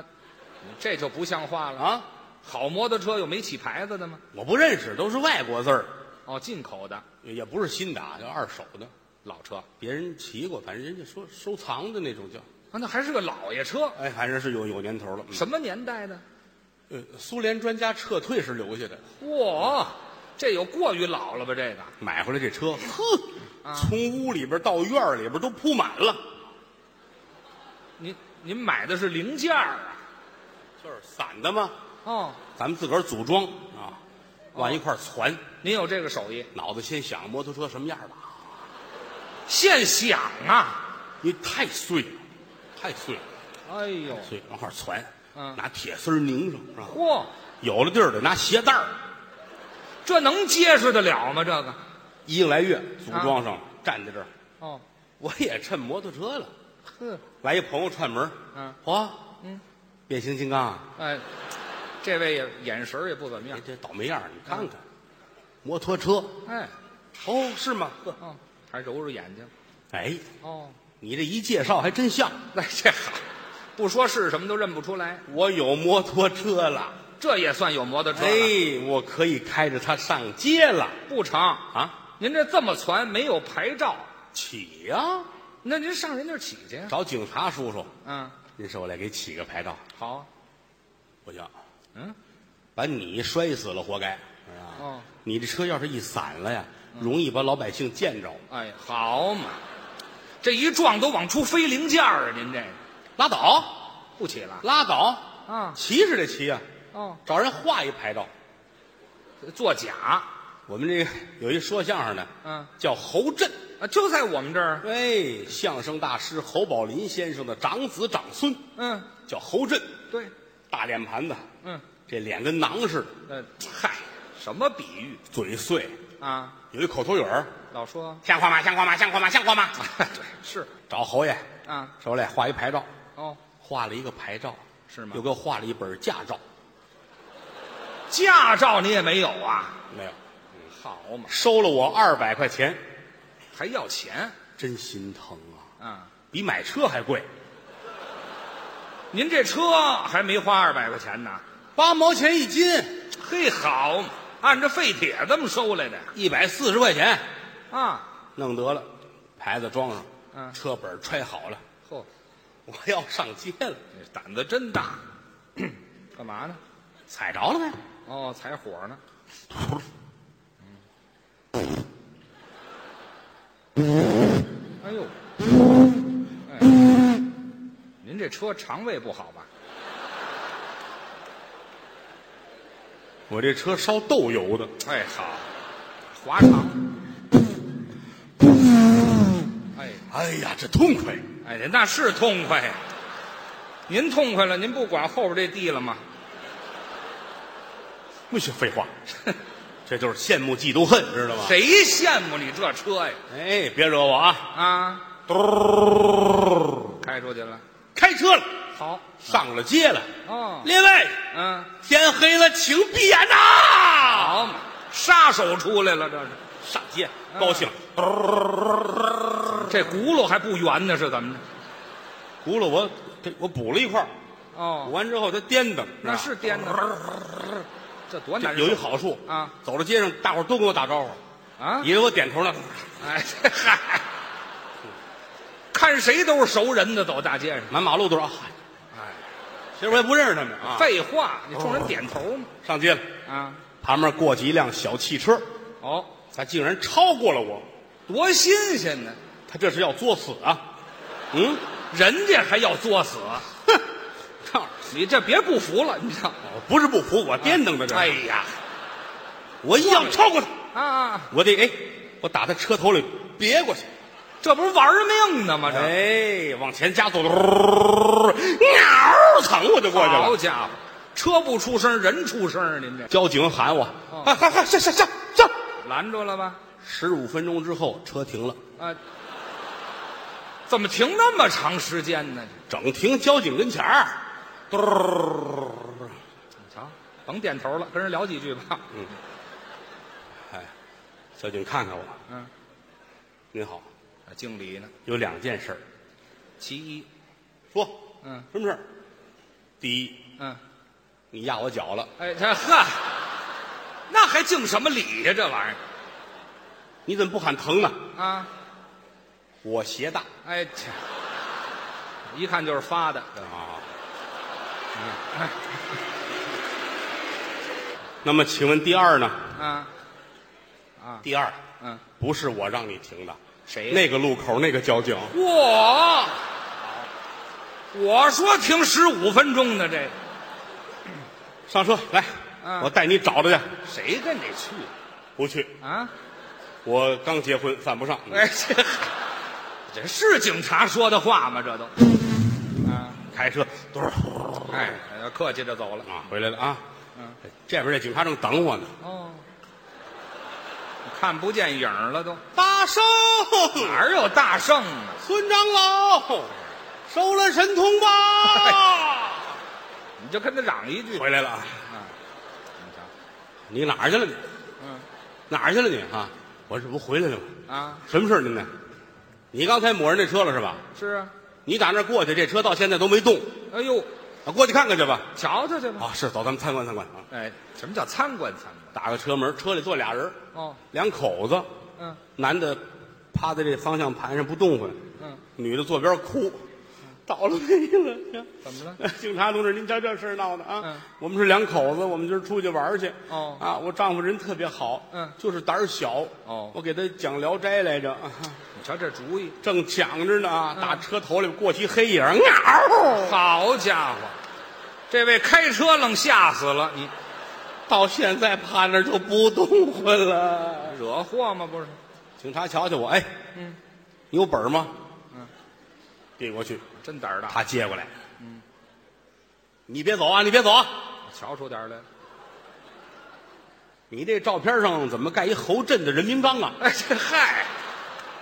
Speaker 2: 你这就不像话了！
Speaker 1: 啊！
Speaker 2: 好摩托车有没起牌子的吗？
Speaker 1: 我不认识，都是外国字儿。
Speaker 2: 哦，进口的
Speaker 1: 也不是新的啊，就二手的，
Speaker 2: 老车，啊，
Speaker 1: 别人骑过，反正人家说收藏的那种叫，
Speaker 2: 那还是个老爷车，
Speaker 1: 哎，反正是有有年头了。嗯
Speaker 2: 什么年代的？
Speaker 1: 呃，苏联专家撤退是留下的，
Speaker 2: 嚯，这有过于老了吧？这个
Speaker 1: 买回来这车，呵，从屋里边到院儿里边都铺满了，
Speaker 2: 您您买的是零件儿啊？
Speaker 1: 就是散的嘛，
Speaker 2: 哦，
Speaker 1: 咱们自个儿组装啊，往一块儿攒，
Speaker 2: 您有这个手艺，
Speaker 1: 脑子先想摩托车什么样吧，
Speaker 2: 现想啊！
Speaker 1: 你太碎了，太碎了，
Speaker 2: 哎呦，
Speaker 1: 碎往块儿攒，
Speaker 2: 嗯
Speaker 1: 拿铁丝儿拧上是吧？
Speaker 2: 嚯，
Speaker 1: 有了地儿得拿鞋带儿，
Speaker 2: 这能结实得了吗？这个
Speaker 1: 一个来月组装上了，站在这儿，啊
Speaker 2: 哦，
Speaker 1: 我也趁摩托车了。
Speaker 2: 呵，
Speaker 1: 来一朋友串门，
Speaker 2: 嗯，
Speaker 1: 嚯，
Speaker 2: 嗯，
Speaker 1: 变形金刚啊，
Speaker 2: 哎，这位也眼神儿也不怎么样
Speaker 1: 你，这倒霉样儿，你看看，摩托车，
Speaker 2: 哎，
Speaker 1: 嗯哦，是吗？呵
Speaker 2: 哦，还揉揉眼睛，
Speaker 1: 哎，
Speaker 2: 哦，
Speaker 1: 你这一介绍还真像，
Speaker 2: 那这好，不说是什么都认不出来，
Speaker 1: 我有摩托车了，
Speaker 2: 这也算有摩托车了？
Speaker 1: 哎，我可以开着它上街了
Speaker 2: 不成，
Speaker 1: 啊！
Speaker 2: 您这这么传没有牌照，
Speaker 1: 起呀、
Speaker 2: 那您上人那儿起去啊呀？
Speaker 1: 找警察叔叔，
Speaker 2: 嗯，
Speaker 1: 您说我来给起个牌照，
Speaker 2: 好啊，
Speaker 1: 不行，
Speaker 2: 嗯，
Speaker 1: 把你摔死了活该，是吧？
Speaker 2: 哦，
Speaker 1: 你这车要是一散了呀，容易把老百姓见着，
Speaker 2: 哎，好嘛，这一撞都往出飞零件儿啊！您这个
Speaker 1: 拉倒，
Speaker 2: 不起了
Speaker 1: 拉倒，
Speaker 2: 啊？
Speaker 1: 骑是得骑呀、
Speaker 2: 哦，
Speaker 1: 找人画一牌照。
Speaker 2: 呃作假，
Speaker 1: 我们这个有一说相声的，
Speaker 2: 嗯
Speaker 1: 叫侯震，
Speaker 2: 啊，就在我们这儿，
Speaker 1: 哎，相声大师侯宝林先生的长子长孙，
Speaker 2: 嗯，
Speaker 1: 叫侯震，
Speaker 2: 对，
Speaker 1: 大脸盘子，
Speaker 2: 嗯，
Speaker 1: 这脸跟囊似的，
Speaker 2: 呃，嗨，什么比喻
Speaker 1: 嘴碎，
Speaker 2: 啊？
Speaker 1: 有一口头语儿，
Speaker 2: 老说，
Speaker 1: 像话吗？像话吗？像话吗？像话吗？
Speaker 2: 对，是
Speaker 1: 找侯爷，
Speaker 2: 啊，
Speaker 1: 手里画一牌照，
Speaker 2: 哦，
Speaker 1: 画了一个牌照，
Speaker 2: 是吗
Speaker 1: 又给我画了一本驾照，
Speaker 2: 驾照你也没有啊？
Speaker 1: 没有，
Speaker 2: 好嘛，
Speaker 1: 收了我二百块钱，
Speaker 2: 还要钱
Speaker 1: 真心疼啊，
Speaker 2: 啊？
Speaker 1: 比买车还贵，
Speaker 2: 您这车还没花二百块钱呢？
Speaker 1: 八毛钱一斤，
Speaker 2: 嘿，好嘛，按照废铁这么收来的
Speaker 1: 一百四十块钱。
Speaker 2: 啊！
Speaker 1: 弄得了，牌子装上，
Speaker 2: 嗯
Speaker 1: 车本揣好了，
Speaker 2: 嚯，
Speaker 1: 我要上街了，
Speaker 2: 这胆子真大， 干嘛呢？
Speaker 1: 踩着了呗，
Speaker 2: 哦，踩火呢？哎呦，哎，您这车肠胃不好吧？
Speaker 1: 我这车烧豆油的，
Speaker 2: 哎，好，滑肠。哎
Speaker 1: 哎呀，这痛快！
Speaker 2: 哎，那是痛快呀！您痛快了，您不管后边这地了吗？
Speaker 1: 不许废 话，这就是羡慕嫉妒恨，知道吗？
Speaker 2: 谁羡慕你这车呀？
Speaker 1: 哎，别惹我啊！
Speaker 2: 啊，
Speaker 1: 嘟，
Speaker 2: 开出去了，
Speaker 1: 开车了，
Speaker 2: 好，
Speaker 1: 上了街了。
Speaker 2: 哦，
Speaker 1: 列位，
Speaker 2: 嗯，
Speaker 1: 天黑了，请闭眼呐！
Speaker 2: 好嘛，杀手出来了，这是
Speaker 1: 上街，高兴。
Speaker 2: 嗯这轱辘还不圆呢，是怎么着？
Speaker 1: 轱辘我这我补了一块儿，补
Speaker 2: 哦，
Speaker 1: 完之后它颠的，
Speaker 2: 那是颠的， 这多
Speaker 1: 这
Speaker 2: 难受
Speaker 1: 有一好处
Speaker 2: 啊！
Speaker 1: 走到街上，大伙儿都跟我打招呼，
Speaker 2: 啊！
Speaker 1: 以为我点头呢。
Speaker 2: 哎，这嗨，看谁都是熟人的，走大街上，
Speaker 1: 满马路都是啊，
Speaker 2: 哎，
Speaker 1: 其实我也不认识他们啊。
Speaker 2: 废话，你冲
Speaker 1: 哦
Speaker 2: 人点头嘛，
Speaker 1: 上街了，
Speaker 2: 啊，
Speaker 1: 旁边过去一辆小汽车，
Speaker 2: 哦，
Speaker 1: 他竟然超过了我，
Speaker 2: 多新鲜呢！
Speaker 1: 他这是要作死啊！嗯，
Speaker 2: 人家还要作死，
Speaker 1: 哼，告诉
Speaker 2: 你这别不服了，你知道？
Speaker 1: 你我不是不服，我颠蹬着这，
Speaker 2: 哎，呀，
Speaker 1: 我一样超过他，
Speaker 2: 啊，
Speaker 1: 我得哎，我打他车头里别过去，
Speaker 2: 这不是玩命呢吗？这、
Speaker 1: 哎，往前加速，鸟蹭我就过去
Speaker 2: 好
Speaker 1: 了。
Speaker 2: 家伙，车不出声，人出声啊，您这
Speaker 1: 交警喊我，
Speaker 2: 哦
Speaker 1: 啊，快快上上上上！
Speaker 2: 拦住了吧？
Speaker 1: 十五分钟之后，车停了，
Speaker 2: 啊，怎么停那么长时间呢？
Speaker 1: 整停交警跟前儿，嘟儿，
Speaker 2: 你瞧，甭点头了，跟人聊几句吧。
Speaker 1: 嗯交警看看我，
Speaker 2: 嗯，
Speaker 1: 您好，
Speaker 2: 啊经理呢？
Speaker 1: 有两件事儿，
Speaker 2: 其一，
Speaker 1: 说，
Speaker 2: 嗯
Speaker 1: 什么事儿？第一，
Speaker 2: 嗯，
Speaker 1: 你压我脚了，
Speaker 2: 哎，这呵，那还敬什么礼呀、这玩意儿，
Speaker 1: 你怎么不喊疼呢？
Speaker 2: 啊，
Speaker 1: 我鞋大
Speaker 2: 哎，切一看就是发的。
Speaker 1: 啊。 那么，请问第二呢？
Speaker 2: 啊，
Speaker 1: 第二
Speaker 2: 嗯，
Speaker 1: 不是我让你停的，
Speaker 2: 谁呀
Speaker 1: 那个路口那个交警，
Speaker 2: 我，我说停十五分钟呢，这个
Speaker 1: 上车来，
Speaker 2: 嗯
Speaker 1: 我带你找他去。
Speaker 2: 谁跟你去
Speaker 1: 不去，
Speaker 2: 啊？
Speaker 1: 我刚结婚，犯不上。
Speaker 2: 哎，这这是警察说的话吗？这都，啊，
Speaker 1: 开车，嘟儿
Speaker 2: 哎，客气着走了。
Speaker 1: 啊，回来了啊。
Speaker 2: 嗯，
Speaker 1: 这边这警察正等我呢。
Speaker 2: 哦，看不见影儿了都，
Speaker 1: 大圣，
Speaker 2: 哪儿有大圣啊？
Speaker 1: 孙长老，收了神通吧。
Speaker 2: 你就跟他嚷一 句。
Speaker 1: 回来了啊，
Speaker 2: 你瞧
Speaker 1: 你哪儿去了你？
Speaker 2: 嗯
Speaker 1: 哪儿去了你啊？我这不回来了吗？
Speaker 2: 啊，
Speaker 1: 什么事儿您呢？你刚才抹人那车了是吧？
Speaker 2: 是啊，
Speaker 1: 你打那儿过去，这车到现在都没动。
Speaker 2: 哎呦，
Speaker 1: 啊，过去看看去吧。
Speaker 2: 瞧瞧去吧。
Speaker 1: 啊，是，走，咱们参观参观啊。
Speaker 2: 哎，什么叫参观参观？
Speaker 1: 打个车门，车里坐俩人，
Speaker 2: 哦，
Speaker 1: 两口子，
Speaker 2: 嗯
Speaker 1: 男的趴在这方向盘上不动弹，
Speaker 2: 嗯，
Speaker 1: 女的坐边哭， 倒了霉了。
Speaker 2: 怎么了？
Speaker 1: 警察同志，您瞧这事儿闹的啊！
Speaker 2: 嗯
Speaker 1: 我们是两口子，我们今儿出去玩儿去。
Speaker 2: 哦
Speaker 1: 啊，我丈夫人特别好，
Speaker 2: 嗯
Speaker 1: 就是胆儿小。
Speaker 2: 哦
Speaker 1: 我给他讲《聊斋》来着， 啊
Speaker 2: 你瞧这主意，
Speaker 1: 正讲着呢
Speaker 2: 嗯
Speaker 1: 啊，打车头里过去黑影儿， 嗷！
Speaker 2: 好家伙，这位开车愣吓死了，你
Speaker 1: 到现在趴那儿就不动弹了。
Speaker 2: 惹祸吗？不是，
Speaker 1: 警察瞧瞧我，哎，
Speaker 2: 嗯，
Speaker 1: 你有本儿吗？
Speaker 2: 嗯，
Speaker 1: 递过去，
Speaker 2: 真胆儿大，
Speaker 1: 他接过来，嗯，你别走啊，你别走啊！
Speaker 2: 瞧出点儿来了。
Speaker 1: 你这照片上怎么盖一侯震的人民章啊？
Speaker 2: 哎，这嗨，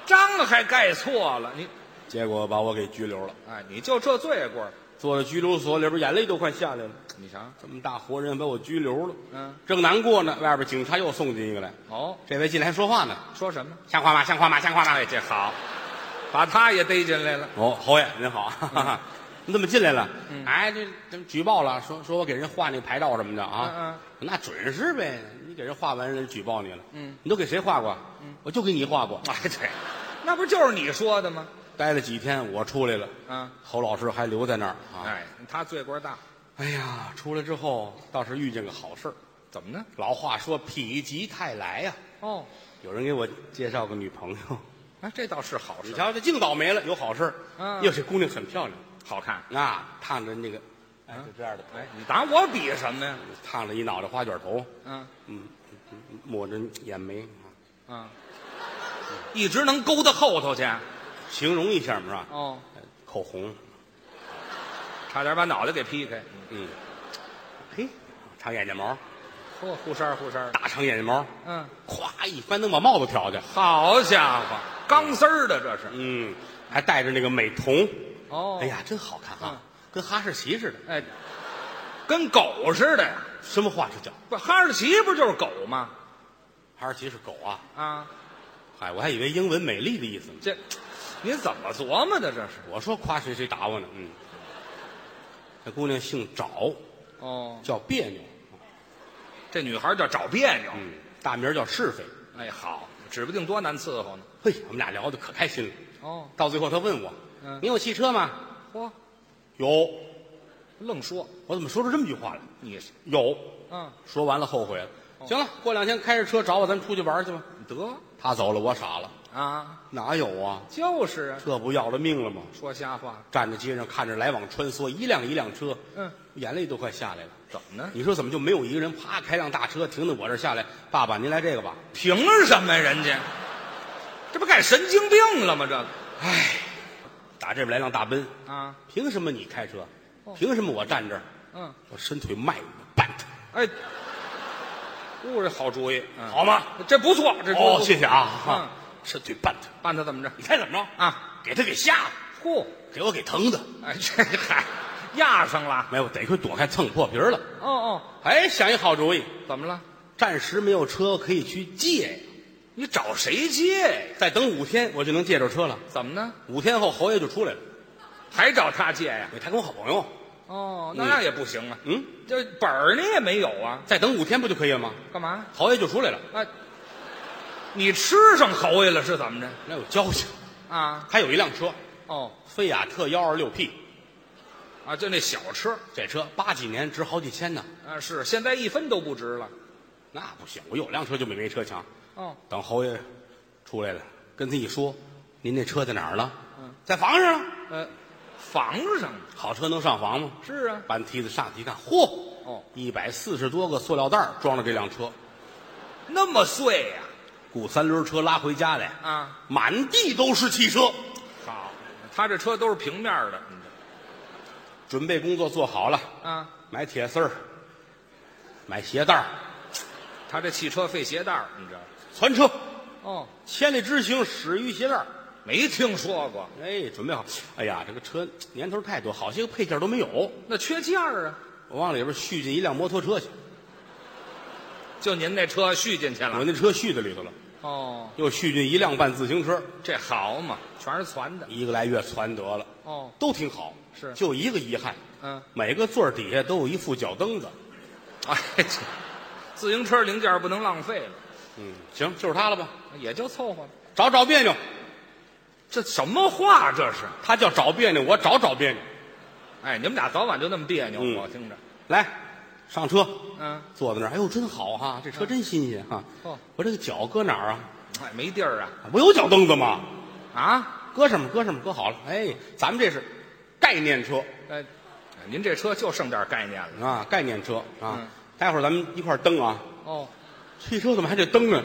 Speaker 2: 章还盖错了，你
Speaker 1: 结果把我给拘留了，
Speaker 2: 哎，你就这罪过，
Speaker 1: 坐在拘留所里边，眼泪都快下来了。
Speaker 2: 你瞧，
Speaker 1: 这么大活人把我拘留了，
Speaker 2: 嗯，
Speaker 1: 正难过呢，外边警察又送进一个来，
Speaker 2: 哦，
Speaker 1: 这位进来还说话呢，
Speaker 2: 说什么？
Speaker 1: 像话吗？像话吗？像话吗？哎这好，
Speaker 2: 把他也逮进来了，
Speaker 1: 哦，侯爷您好， 哈哈，你怎么进来了？哎，这怎么举报了？说说我给人画那牌照什么的啊？
Speaker 2: 嗯
Speaker 1: 那准是呗，你给人画完人举报你了，
Speaker 2: 嗯，
Speaker 1: 你都给谁画过？嗯，我就给你画过。
Speaker 2: 哎，对，那不就是你说的吗？
Speaker 1: 待了几天，我出来了，
Speaker 2: 啊，
Speaker 1: 侯老师还留在那儿啊。
Speaker 2: 哎，他罪过大，
Speaker 1: 哎呀，出来之后倒是遇见个好事儿。
Speaker 2: 怎么呢？
Speaker 1: 老话说否极泰来呀、
Speaker 2: 哦，
Speaker 1: 有人给我介绍个女朋友，
Speaker 2: 哎，这倒是好
Speaker 1: 你
Speaker 2: 事，
Speaker 1: 瞧这净倒霉了，有好事儿。
Speaker 2: 嗯
Speaker 1: 哟，这姑娘很漂亮，
Speaker 2: 好看。
Speaker 1: 啊，烫着那个，哎，
Speaker 2: 嗯
Speaker 1: 就这样的，
Speaker 2: 哎，你打我比什么呀？
Speaker 1: 烫着一脑袋花卷头，
Speaker 2: 嗯
Speaker 1: 嗯，抹着眼眉，
Speaker 2: 嗯，一直能勾到后头去。
Speaker 1: 形容一下嘛是吧？
Speaker 2: 哦，
Speaker 1: 口红，
Speaker 2: 差点把脑袋给劈开。
Speaker 1: 嗯，嘿，长眼睫毛，
Speaker 2: 嚯，护衫儿护衫儿。
Speaker 1: 大长眼睫毛，
Speaker 2: 嗯，
Speaker 1: 咵一翻能把帽子挑去，
Speaker 2: 好家伙，钢丝儿的这是。
Speaker 1: 嗯，还带着那个美瞳，
Speaker 2: 哦
Speaker 1: 哎，呀，真好看啊
Speaker 2: 嗯，
Speaker 1: 跟哈士奇似的。
Speaker 2: 哎，跟狗似的呀。
Speaker 1: 什么话是讲？
Speaker 2: 不，哈士奇不就是狗吗？
Speaker 1: 哈士奇是狗啊？
Speaker 2: 啊，
Speaker 1: 哎，我还以为英文美丽的意思呢。
Speaker 2: 这您怎么琢磨的？这是
Speaker 1: 我说夸谁谁打我呢？嗯，这姑娘姓找，
Speaker 2: 哦，
Speaker 1: 叫别扭，
Speaker 2: 这女孩叫找别扭。
Speaker 1: 嗯，大名叫是非。
Speaker 2: 哎，好，指不定多难伺候呢。
Speaker 1: 嘿，我们俩聊的可开心了。
Speaker 2: 哦，
Speaker 1: 到最后，她问我：“
Speaker 2: 嗯
Speaker 1: 你有汽车吗
Speaker 2: 嚯，？”
Speaker 1: 有。
Speaker 2: 愣说
Speaker 1: 我怎么说出这么句话来？
Speaker 2: 你是，
Speaker 1: 有。
Speaker 2: 嗯，
Speaker 1: 说完了，后悔了。
Speaker 2: 哦
Speaker 1: 行了，过两天开着车找我，咱们出去玩去吧。
Speaker 2: 得
Speaker 1: 她走了，我傻了，
Speaker 2: 啊，
Speaker 1: 哪有啊？
Speaker 2: 就是啊，
Speaker 1: 这不要了命了吗？
Speaker 2: 说瞎话，
Speaker 1: 站在街上看着来往穿梭，一辆一辆车，
Speaker 2: 嗯，
Speaker 1: 眼泪都快下来了。
Speaker 2: 怎么呢？
Speaker 1: 你说怎么就没有一个人啪开辆大车停在我这儿下来？爸爸，您来这个吧。
Speaker 2: 凭什么呀？人家这不改神经病了吗？这个
Speaker 1: 打这边来辆大奔，
Speaker 2: 啊，
Speaker 1: 凭什么你开车
Speaker 2: 哦？
Speaker 1: 凭什么我站这儿？
Speaker 2: 嗯，
Speaker 1: 我伸腿迈你的半他，
Speaker 2: 哎，我这好主意，嗯，
Speaker 1: 好吗？
Speaker 2: 这不错，这主意
Speaker 1: 哦，
Speaker 2: 不错
Speaker 1: 谢谢啊。
Speaker 2: 嗯
Speaker 1: 哈，伸腿绊他，
Speaker 2: 办他怎么着？
Speaker 1: 你猜怎么着？
Speaker 2: 啊，
Speaker 1: 给他给吓的，
Speaker 2: 嚯，
Speaker 1: 给我给疼的。
Speaker 2: 哎，这嗨，压上了。
Speaker 1: 没有，得亏躲开蹭破皮儿了。
Speaker 2: 哦哦，
Speaker 1: 哎，想一好主意，
Speaker 2: 怎么了？
Speaker 1: 暂时没有车可以去借呀，
Speaker 2: 你找谁借呀？
Speaker 1: 再等五天我就能借着车了。
Speaker 2: 怎么呢？
Speaker 1: 五天后侯爷就出来了，
Speaker 2: 还找他借呀？
Speaker 1: 他跟我好朋友。
Speaker 2: 哦，
Speaker 1: 嗯
Speaker 2: 那也不行啊。
Speaker 1: 嗯，
Speaker 2: 这本儿你也没有啊？
Speaker 1: 再等五天不就可以了吗？
Speaker 2: 干嘛？
Speaker 1: 侯爷就出来了。
Speaker 2: 啊，你吃上侯爷了是怎么着？
Speaker 1: 那有交情。
Speaker 2: 啊，
Speaker 1: 还有一辆车，
Speaker 2: 哦，
Speaker 1: 菲亚特幺二六 P，
Speaker 2: 啊，就那小车，
Speaker 1: 这车八几年值好几千呢，
Speaker 2: 啊，是现在一分都不值了。
Speaker 1: 那不行，我有辆车就比没车强。
Speaker 2: 哦，
Speaker 1: 等侯爷出来了，跟他一说，您那车在哪儿了？在房上啊。
Speaker 2: 呃，房上了
Speaker 1: 好车能上房吗？
Speaker 2: 是啊，
Speaker 1: 搬梯子上去一看，嚯！
Speaker 2: 哦，
Speaker 1: 一百四十多个塑料袋儿装着这辆车，
Speaker 2: 那么碎呀、
Speaker 1: 雇三轮车拉回家来，
Speaker 2: 啊，
Speaker 1: 满地都是汽车。
Speaker 2: 好，他这车都是平面的，
Speaker 1: 准备工作做好了，
Speaker 2: 啊，
Speaker 1: 买铁丝儿，买鞋带儿，
Speaker 2: 他这汽车费鞋带儿你知道吗？
Speaker 1: 全车
Speaker 2: 哦，
Speaker 1: 千里之行始于鞋带儿。
Speaker 2: 没听说过，
Speaker 1: 哎，准备好。哎呀，这个车年头太多，好些个配件都没有。
Speaker 2: 那缺件儿啊，
Speaker 1: 我往里边续进一辆摩托车去，
Speaker 2: 就您那车续进去
Speaker 1: 我
Speaker 2: 了。
Speaker 1: 那车续在里头了，
Speaker 2: 哦，
Speaker 1: 又续进一辆半自行车，
Speaker 2: 这好嘛，全是攒的。
Speaker 1: 一个来月攒得了，
Speaker 2: 哦，
Speaker 1: 都挺好。
Speaker 2: 是
Speaker 1: 就一个遗憾，
Speaker 2: 嗯，
Speaker 1: 每个座儿底下都有一副脚蹬子。
Speaker 2: 哎，这自行车零件不能浪费了，
Speaker 1: 嗯，行，就是它了吧？
Speaker 2: 也就凑合了。
Speaker 1: 找找别扭，
Speaker 2: 这什么话这是？
Speaker 1: 他叫找别扭，我找找别扭。
Speaker 2: 哎，你们俩早晚就那么别扭，
Speaker 1: 嗯
Speaker 2: 我听着。
Speaker 1: 来，上车，
Speaker 2: 嗯，
Speaker 1: 坐在那儿，哎呦，真好哈、这车真新鲜哈、
Speaker 2: 哦
Speaker 1: 我这个脚搁哪儿啊？
Speaker 2: 哎，没地儿啊
Speaker 1: 我有脚蹬子吗？
Speaker 2: 啊！
Speaker 1: 搁上面，搁上面，搁好了。哎，咱们这是概念车
Speaker 2: 哎，您这车就剩点概念了。
Speaker 1: 啊，概念车啊。
Speaker 2: 嗯
Speaker 1: 待会儿咱们一块儿蹬啊。
Speaker 2: 哦
Speaker 1: 汽车怎么还得蹬呢？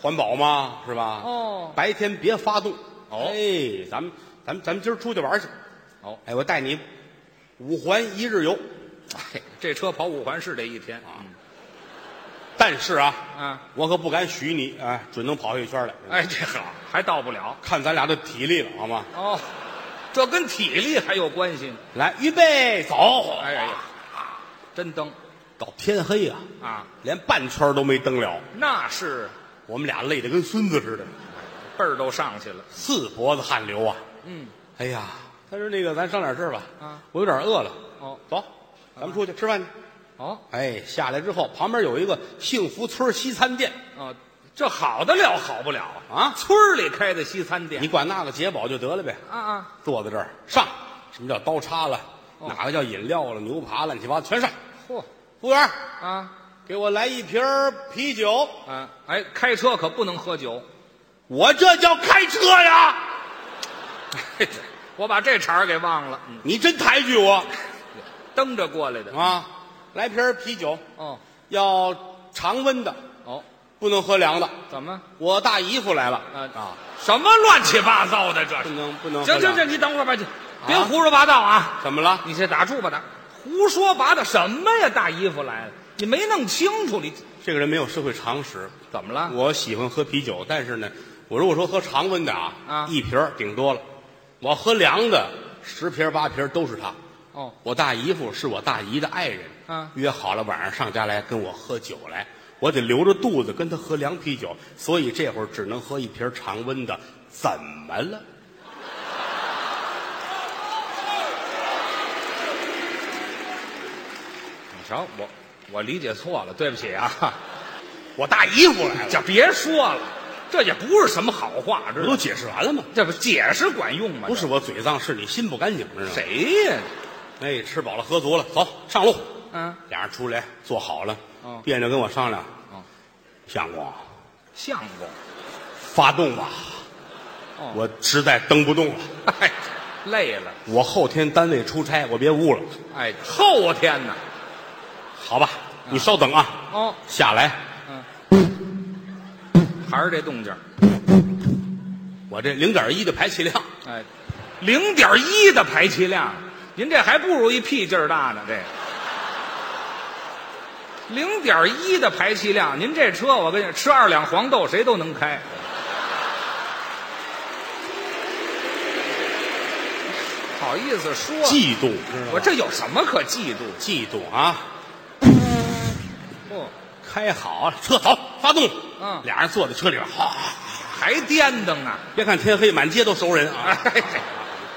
Speaker 1: 环保嘛，是吧？
Speaker 2: 哦
Speaker 1: 白天别发动。
Speaker 2: 哦
Speaker 1: 哎，咱们咱们咱们今儿出去玩去。
Speaker 2: 哦，
Speaker 1: 哎，我带你五环一日游。
Speaker 2: 哎，这车跑五环是得一天啊
Speaker 1: 但是啊，
Speaker 2: 啊！
Speaker 1: 我可不敢许你，哎，准能跑一圈来。
Speaker 2: 哎，这好还到不了
Speaker 1: 看咱俩的体力了，好吗？
Speaker 2: 哦，这跟体力还有关系呢。
Speaker 1: 来，预备，走！
Speaker 2: 哎呀，真蹬
Speaker 1: 到天黑啊，
Speaker 2: 啊，
Speaker 1: 连半圈都没蹬了，
Speaker 2: 那是
Speaker 1: 我们俩累得跟孙子似的，
Speaker 2: 辈儿都上去了。
Speaker 1: 四脖子汗流啊。
Speaker 2: 嗯，
Speaker 1: 哎呀，他说那个，咱商量点事儿吧。
Speaker 2: 啊，
Speaker 1: 我有点饿了。
Speaker 2: 哦
Speaker 1: 走，咱们出去吃饭去。
Speaker 2: 哦
Speaker 1: 哎，下来之后，旁边有一个幸福村西餐店
Speaker 2: 哦，这好得了好不了啊！
Speaker 1: 啊，
Speaker 2: 村儿里开的西餐
Speaker 1: 你
Speaker 2: 店
Speaker 1: 管那个解饱就得了呗。
Speaker 2: 啊啊，
Speaker 1: 坐在这儿上，什么叫刀叉了，
Speaker 2: 哦
Speaker 1: 哪个叫饮料了，牛扒乱七八糟全上。
Speaker 2: 嚯
Speaker 1: 服务员，
Speaker 2: 啊
Speaker 1: 给我来一瓶儿啤酒。
Speaker 2: 啊！哎，开车可不能喝酒。
Speaker 1: 我这叫开车呀！
Speaker 2: 嘿我把这茬儿给忘了，嗯，
Speaker 1: 你真抬举我
Speaker 2: 蹬着过来的。
Speaker 1: 啊！来瓶儿啤酒，
Speaker 2: 哦
Speaker 1: 要常温的，
Speaker 2: 哦，
Speaker 1: 不能喝凉的。
Speaker 2: 怎么？
Speaker 1: 我大姨夫来了
Speaker 2: 啊，什么乱七八糟的这
Speaker 1: 不
Speaker 2: 是？
Speaker 1: 能不能喝凉
Speaker 2: 行
Speaker 1: 的。
Speaker 2: 行行，你等会儿吧，你别胡说八道啊！
Speaker 1: 怎么了？
Speaker 2: 你先打住吧，打胡说八道什么呀？大姨夫来了，你没弄清楚，你
Speaker 1: 这个人没有社会常识。
Speaker 2: 怎么了？
Speaker 1: 我喜欢喝啤酒，但是呢，我如果说喝常温的啊，
Speaker 2: 啊
Speaker 1: 一瓶儿顶多了。我喝凉的，十瓶儿八瓶儿都是他。
Speaker 2: 哦，
Speaker 1: 我大姨夫是我大姨的爱人，
Speaker 2: 啊
Speaker 1: 约好了晚上上家来跟我喝酒来，我得留着肚子跟他喝凉啤酒，所以这会儿只能喝一瓶常温的，怎么了？
Speaker 2: 你瞧我，我理解错了，对不起啊！
Speaker 1: 我大姨夫来了，
Speaker 2: 就别说了，这也不是什么好话，
Speaker 1: 我
Speaker 2: 知道
Speaker 1: 都
Speaker 2: 吗？
Speaker 1: 解释完了吗？
Speaker 2: 这不解释管用吗？
Speaker 1: 不是我嘴脏，是你心不干净，知道吗？
Speaker 2: 这谁呀？
Speaker 1: 哎，吃饱了喝足了，走上路。
Speaker 2: 嗯，
Speaker 1: 俩人出来坐好了
Speaker 2: 哦，
Speaker 1: 别扭跟我商量
Speaker 2: 哦，
Speaker 1: 相公，啊
Speaker 2: 相公，
Speaker 1: 发动吧
Speaker 2: 哦，
Speaker 1: 我实在蹬不动了，
Speaker 2: 哎，累了，
Speaker 1: 我后天单位出差，我别误了。
Speaker 2: 哎，后天呢？
Speaker 1: 好吧，你稍等啊，
Speaker 2: 哦，
Speaker 1: 下来，
Speaker 2: 还是这动静儿，
Speaker 1: 我这零点一的排气量，
Speaker 2: 哎，零点一的排气量，您这还不如一屁劲儿大呢，这个。零点一的排气量，您这车我跟你吃二两黄豆谁都能开。好意思说，
Speaker 1: 悸动，知道
Speaker 2: 我
Speaker 1: 吗？
Speaker 2: 这有什么可嫉妒？
Speaker 1: 悸动啊！
Speaker 2: 哦，
Speaker 1: 开好了，车走，发动。
Speaker 2: 嗯
Speaker 1: 俩人坐在车里边，哈，
Speaker 2: 还颠蹬呢，
Speaker 1: 别看天黑，满街都熟人 啊。
Speaker 2: 哎，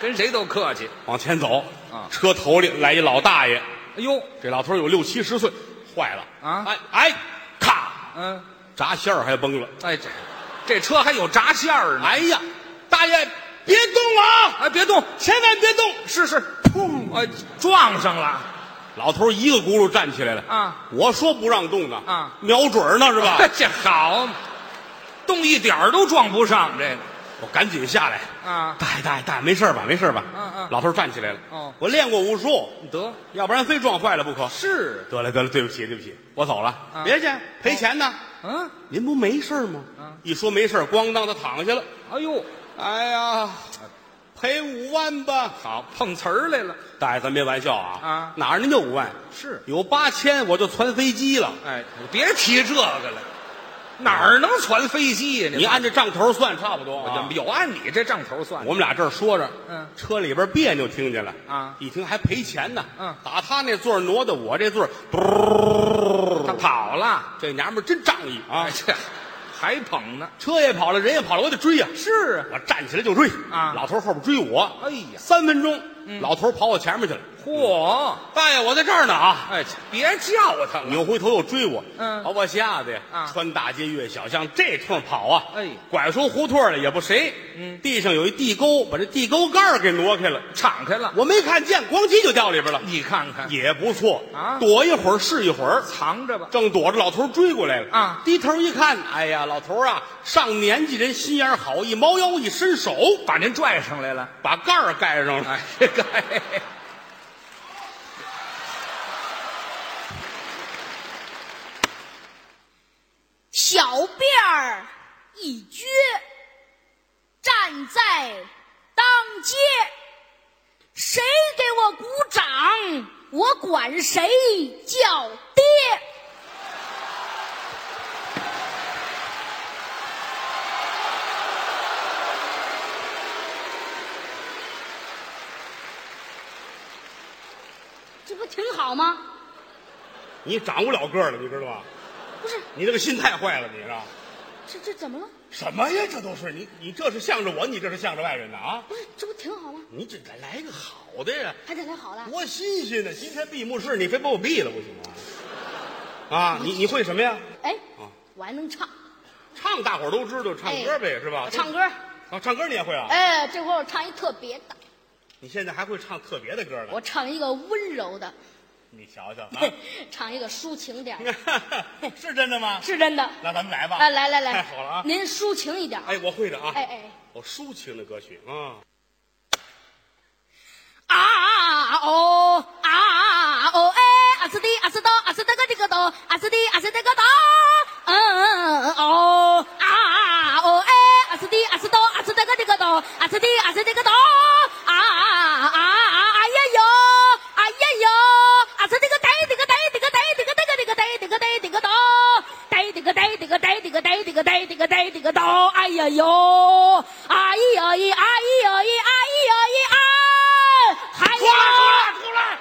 Speaker 2: 跟谁都客气。
Speaker 1: 往前走
Speaker 2: 啊，
Speaker 1: 车头里来一老大爷，
Speaker 2: 哎呦，
Speaker 1: 这老头有六七十岁，坏了
Speaker 2: 啊
Speaker 1: 哎哎，咔，
Speaker 2: 嗯，
Speaker 1: 闸线儿还崩了，
Speaker 2: 哎，这这车还有闸线儿呢。
Speaker 1: 哎呀，大爷别动啊，
Speaker 2: 哎，别动，
Speaker 1: 千万别动！
Speaker 2: 是是，砰！哎，撞上了，
Speaker 1: 老头一个轱辘站起来了
Speaker 2: 啊！
Speaker 1: 我说不让动呢
Speaker 2: 啊
Speaker 1: 瞄准儿呢是吧？
Speaker 2: 这好嘛，动一点儿都撞不上这个
Speaker 1: 我赶紧下来。
Speaker 2: 啊！
Speaker 1: 大爷大爷大爷，没事儿吧？没事儿吧？
Speaker 2: 嗯嗯
Speaker 1: 老头儿站起来了。
Speaker 2: 哦
Speaker 1: 我练过武术，
Speaker 2: 得
Speaker 1: 要不然非撞坏了不可。
Speaker 2: 是，
Speaker 1: 得了得了，对不起对不起，我走了。
Speaker 2: 啊
Speaker 1: 别去，赔钱呢。
Speaker 2: 嗯，
Speaker 1: 您不没事儿吗？一说没事儿，咣当他躺下了。
Speaker 2: 啊哎呦，
Speaker 1: 哎呀，赔五万吧。
Speaker 2: 好碰瓷儿来了，
Speaker 1: 大爷，咱别玩笑啊！
Speaker 2: 啊
Speaker 1: 哪儿您就五万？
Speaker 2: 是
Speaker 1: 有八千我就传飞机了。
Speaker 2: 哎，别提这个了，哪儿能传飞机呀、
Speaker 1: 啊你按这账头算差不多
Speaker 2: 我
Speaker 1: 啊
Speaker 2: 就。有按你这账头算
Speaker 1: 我们俩这儿说着，
Speaker 2: 嗯
Speaker 1: 车里边别扭听见了
Speaker 2: 啊
Speaker 1: 一听还赔钱呢，
Speaker 2: 嗯
Speaker 1: 打他那座儿挪到我这座儿，嘟
Speaker 2: 他跑了，
Speaker 1: 这娘们儿真仗义啊
Speaker 2: 哎，！这还捧呢，
Speaker 1: 车也跑了，人也跑了，我得追呀！
Speaker 2: 是啊，
Speaker 1: 我站起来就追
Speaker 2: 啊
Speaker 1: 老头儿后边追我，
Speaker 2: 哎呀嗯
Speaker 1: 三分钟，老头儿跑我前面去了，
Speaker 2: 嚯，
Speaker 1: 大爷，我在这儿呢啊！
Speaker 2: 哎，别叫他了，
Speaker 1: 扭回头又追我，
Speaker 2: 嗯
Speaker 1: 把我吓得呀！
Speaker 2: 啊
Speaker 1: 穿大街越小巷这通跑啊，
Speaker 2: 哎
Speaker 1: 拐出胡同来也不谁，
Speaker 2: 嗯
Speaker 1: 地上有一地沟，把这地沟盖儿给挪开了，
Speaker 2: 敞开了，
Speaker 1: 我没看见，咣叽就掉里边了，
Speaker 2: 你看看，
Speaker 1: 也不错
Speaker 2: 嗯啊
Speaker 1: 躲一会儿是一会儿，
Speaker 2: 藏着吧，
Speaker 1: 正躲着老头儿追过来了
Speaker 2: 啊
Speaker 1: 低头一看，哎呀，老头儿啊，上年纪人心眼儿好，一猫腰一伸手，
Speaker 2: 把您拽上来了，
Speaker 1: 把盖儿盖上了。
Speaker 2: 哎，这个，哎
Speaker 3: 小辫儿一撅，站在当街，谁给我鼓掌，我管谁叫爹。这不挺好吗？
Speaker 1: 你长不了个儿了，你知道吧？
Speaker 3: 不是，
Speaker 1: 你这个心太坏了，你知道吧
Speaker 3: 这这怎么了？
Speaker 1: 什么呀？这都是你，你这是向着我，你这是向着外人的啊！
Speaker 3: 不是，这不挺好吗？
Speaker 1: 你这来来个好的呀，
Speaker 3: 还得来好的。
Speaker 1: 多新鲜呢！今天闭幕式，你非把我毙了不行吗？啊，你你会什么呀？
Speaker 3: 哎
Speaker 1: 啊，
Speaker 3: 我还能唱，
Speaker 1: 唱大伙儿都知道，唱歌呗，是吧
Speaker 3: 我？哎唱歌。
Speaker 1: 啊，唱歌你也会啊？
Speaker 3: 哎，这回我唱一特别的，
Speaker 1: 你现在还会唱特别的歌呢？
Speaker 3: 我唱一个温柔的，
Speaker 1: 你瞧 瞧啊！
Speaker 3: 唱一个抒情点儿，
Speaker 1: 是真的吗？
Speaker 3: 是真的。
Speaker 1: 那咱们来吧。
Speaker 3: 哎，来来来，
Speaker 1: 太好了啊！
Speaker 3: 您抒情一点儿。
Speaker 1: 哎，我会的啊。
Speaker 3: 哎哎，
Speaker 1: 我抒情的歌曲啊。
Speaker 3: 啊哦啊哦哎，啊斯的啊斯的啊斯的个这个哆，啊斯的啊斯的个哆，嗯哦啊哦哎，啊斯的啊斯的啊斯的个这个哆，啊斯的啊斯的个哆，啊啊啊哎呀哟，哎呀哟，啊斯的个呆的个呆的个呆的个呆的个呆的个呆的个哆，呆的个呆的个呆的个呆的个呆的个呆的个哆，哎呀哟，哎呀咦，哎呀咦，哎呀咦啊！还有
Speaker 1: 出来，出来，出来！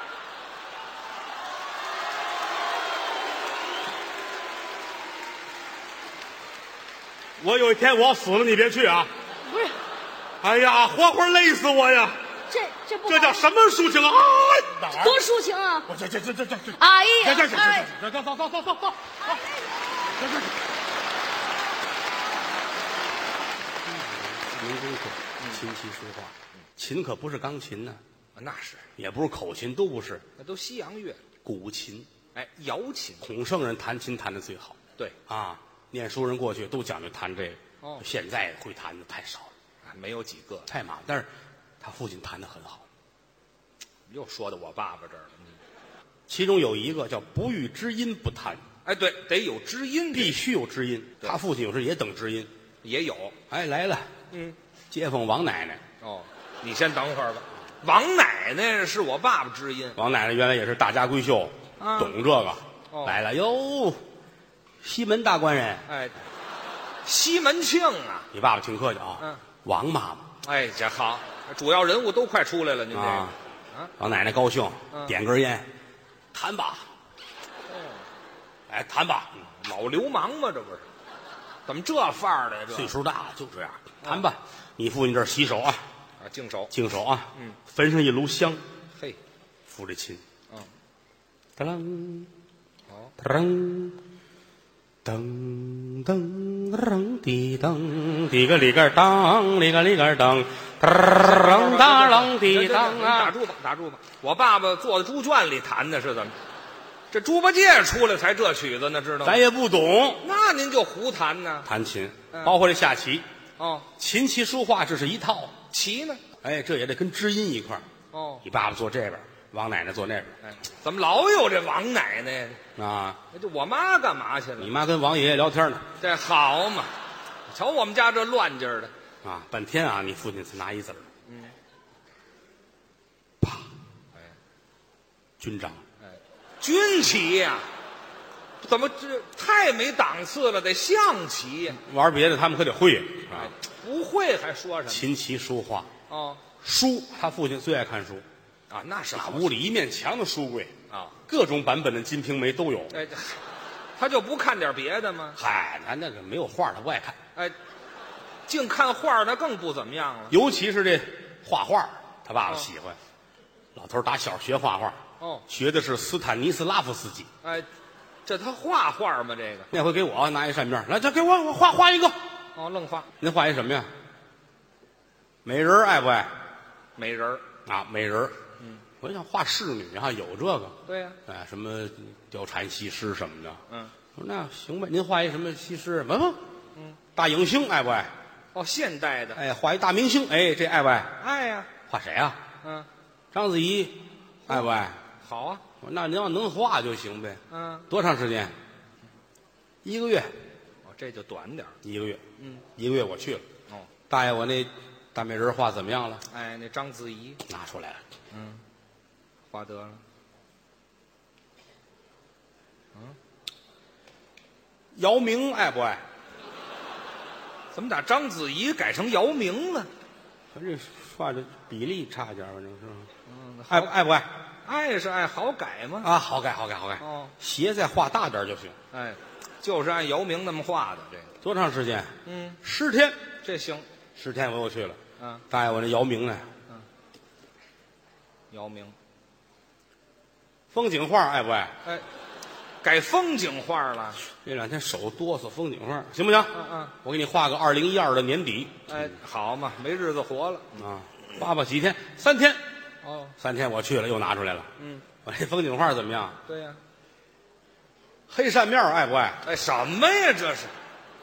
Speaker 1: 我有一天我要死了，你别去啊！
Speaker 3: 不是
Speaker 1: 哎呀，活活累死我呀！
Speaker 3: 这这不
Speaker 1: 这叫什么抒情啊？哪儿？
Speaker 3: 多抒情啊！
Speaker 1: 我这这这这这这！
Speaker 3: 哎
Speaker 1: 这
Speaker 3: 呀
Speaker 1: 这这，
Speaker 3: 哎
Speaker 1: 这这走走走走走！民工说，琴棋书画，琴可不是钢琴呢、
Speaker 2: 那是，
Speaker 1: 也不是口琴，都不是，
Speaker 2: 那都西洋乐，
Speaker 1: 古琴。
Speaker 2: 哎，瑶琴，
Speaker 1: 孔圣人弹琴弹的最好
Speaker 2: 对，
Speaker 1: 啊，念书人过去都讲究弹这个，
Speaker 2: 哦
Speaker 1: 现在会弹的太少了，
Speaker 2: 啊没有几个，
Speaker 1: 太麻烦。但是他父亲弹的很好，
Speaker 2: 又说到我爸爸这儿了，嗯
Speaker 1: 其中有一个叫不遇知音不弹，
Speaker 2: 哎，对，得有知音，
Speaker 1: 必须有知音。
Speaker 2: 对
Speaker 1: 他父亲有时也等知音，
Speaker 2: 也有，
Speaker 1: 哎来了，
Speaker 2: 嗯，
Speaker 1: 街坊王奶奶，
Speaker 2: 哦，你先等会儿吧。王奶奶是我爸爸知音，
Speaker 1: 王奶奶原来也是大家闺秀，
Speaker 2: 啊
Speaker 1: 懂这个，
Speaker 2: 哦
Speaker 1: 来了哟，西门大官人，
Speaker 2: 哎，西门庆啊，
Speaker 1: 你爸爸挺客气啊，
Speaker 2: 嗯
Speaker 1: 王妈妈
Speaker 2: 哎，这好，主要人物都快出来了，您这个，
Speaker 1: 啊
Speaker 2: 啊，
Speaker 1: 王奶奶高兴，
Speaker 2: 嗯哦
Speaker 1: 点根烟，弹吧，哎，弹吧，
Speaker 2: 老流氓嘛，这不是？怎么这范儿的呀？这
Speaker 1: 岁数大了就这样，
Speaker 2: 嗯
Speaker 1: 弹吧。你父亲这儿洗手啊，
Speaker 2: 啊，净手，
Speaker 1: 净手啊，
Speaker 2: 嗯，
Speaker 1: 焚上一炉香，
Speaker 2: 嘿，
Speaker 1: 抚着琴，
Speaker 2: 嗯，
Speaker 1: 当啷
Speaker 2: 好，
Speaker 1: 当啷，噔噔噔滴噔，滴个里个当，里个里个当，噔噔当滴当
Speaker 2: 嗯打
Speaker 1: 啊！
Speaker 2: 住吧，打住吧！我爸爸坐在猪圈里弹的是怎么？这猪八戒出来才这曲子呢，知道吗
Speaker 1: 咱？也不懂
Speaker 2: 那您就胡弹呢？
Speaker 1: 弹琴，
Speaker 2: 嗯
Speaker 1: 包括这下棋，
Speaker 2: 哦，
Speaker 1: 琴棋书画这是一套。
Speaker 2: 棋呢？
Speaker 1: 哎，这也得跟知音一块儿。
Speaker 2: 哦，
Speaker 1: 你爸爸坐这边，王奶奶坐那边
Speaker 2: 哎，怎么老有这王奶奶呀？
Speaker 1: 啊。
Speaker 2: 这我妈干嘛去
Speaker 1: 你
Speaker 2: 了？
Speaker 1: 妈跟王爷爷聊天呢
Speaker 2: 这好嘛，瞧我们家这乱劲儿的，
Speaker 1: 啊，半天啊，你父亲才拿一字儿。嗯。啪！军长，
Speaker 2: 军棋呀、怎么这太没档次了？得象棋呀、
Speaker 1: 玩别的他们可得会
Speaker 2: 哎
Speaker 1: 啊，
Speaker 2: 不会还说什么？
Speaker 1: 琴棋书画。
Speaker 2: 哦，
Speaker 1: 书，他父亲最爱看书，
Speaker 2: 啊，那是
Speaker 1: 那
Speaker 2: 好
Speaker 1: 屋里一面墙的书柜，
Speaker 2: 啊。
Speaker 1: 各种版本的《金瓶梅》都有。
Speaker 2: 哎，这他就不看点别的吗？
Speaker 1: 嗨，他那个没有画，他不爱看，
Speaker 2: 哎，净看画儿那更不怎么样了。
Speaker 1: 尤其是这画画，他爸爸喜欢。老头儿打小学画画，
Speaker 2: 哦
Speaker 1: 学的是斯坦尼斯拉夫斯基。
Speaker 2: 哎，这他画画吗？这个
Speaker 1: 那回给我拿一扇面儿，来，这给我，我画画一个。
Speaker 2: 哦，愣画
Speaker 1: 您画一什么呀？美人儿爱不爱
Speaker 2: 美人儿。
Speaker 1: 啊？美人嗯，我就想画仕女啊，有这个，
Speaker 2: 对呀、
Speaker 1: 哎，什么貂蝉西施什么的。
Speaker 2: 嗯，
Speaker 1: 我说那行吧，您画一什么西施？不不，嗯，大影星爱不爱？
Speaker 2: 哦，现代的
Speaker 1: 哎，画一大明星，哎，这爱不爱？
Speaker 2: 爱呀、
Speaker 1: 画谁啊？
Speaker 2: 嗯，
Speaker 1: 章子怡，哎爱不爱？
Speaker 2: 好啊，
Speaker 1: 我说那您要能画就行呗。
Speaker 2: 嗯，
Speaker 1: 多长时间？一个月，
Speaker 2: 哦，这就短点儿。
Speaker 1: 一个月，
Speaker 2: 嗯，
Speaker 1: 一个月我去了。
Speaker 2: 哦，
Speaker 1: 大爷，我那大美人儿画怎么样了？
Speaker 2: 哎，那章子怡
Speaker 1: 拿出来了。
Speaker 2: 画得了，
Speaker 1: 姚明爱不爱？
Speaker 2: 怎么打章子怡改成姚明了？
Speaker 1: 反正画的比例差点儿，反正是吧
Speaker 2: 嗯，
Speaker 1: 爱不爱不爱
Speaker 2: 爱是爱，好改吗？
Speaker 1: 啊？好改，好改，好改。
Speaker 2: 哦，
Speaker 1: 鞋再画大点儿就行。
Speaker 2: 哎，就是按姚明那么画的这个。
Speaker 1: 多长时间？
Speaker 2: 嗯，
Speaker 1: 十天。
Speaker 2: 这行，
Speaker 1: 十天我又去了。
Speaker 2: 嗯，
Speaker 1: 大爷，我那姚明呢？
Speaker 2: 姚明，
Speaker 1: 风景画爱不爱？
Speaker 2: 哎，改风景画了。
Speaker 1: 这两天手哆嗦，风景画行不行？
Speaker 2: 嗯嗯，
Speaker 1: 我给你画个二零一二的年底
Speaker 2: 哎，好嘛，没日子活了。
Speaker 1: 啊，画吧几天？三天，
Speaker 2: 哦，
Speaker 1: 三天我去了，又拿出来了。
Speaker 2: 嗯，
Speaker 1: 我这风景画怎么样？
Speaker 2: 对呀、
Speaker 1: 黑扇面爱不爱
Speaker 2: 哎，什么呀？这是，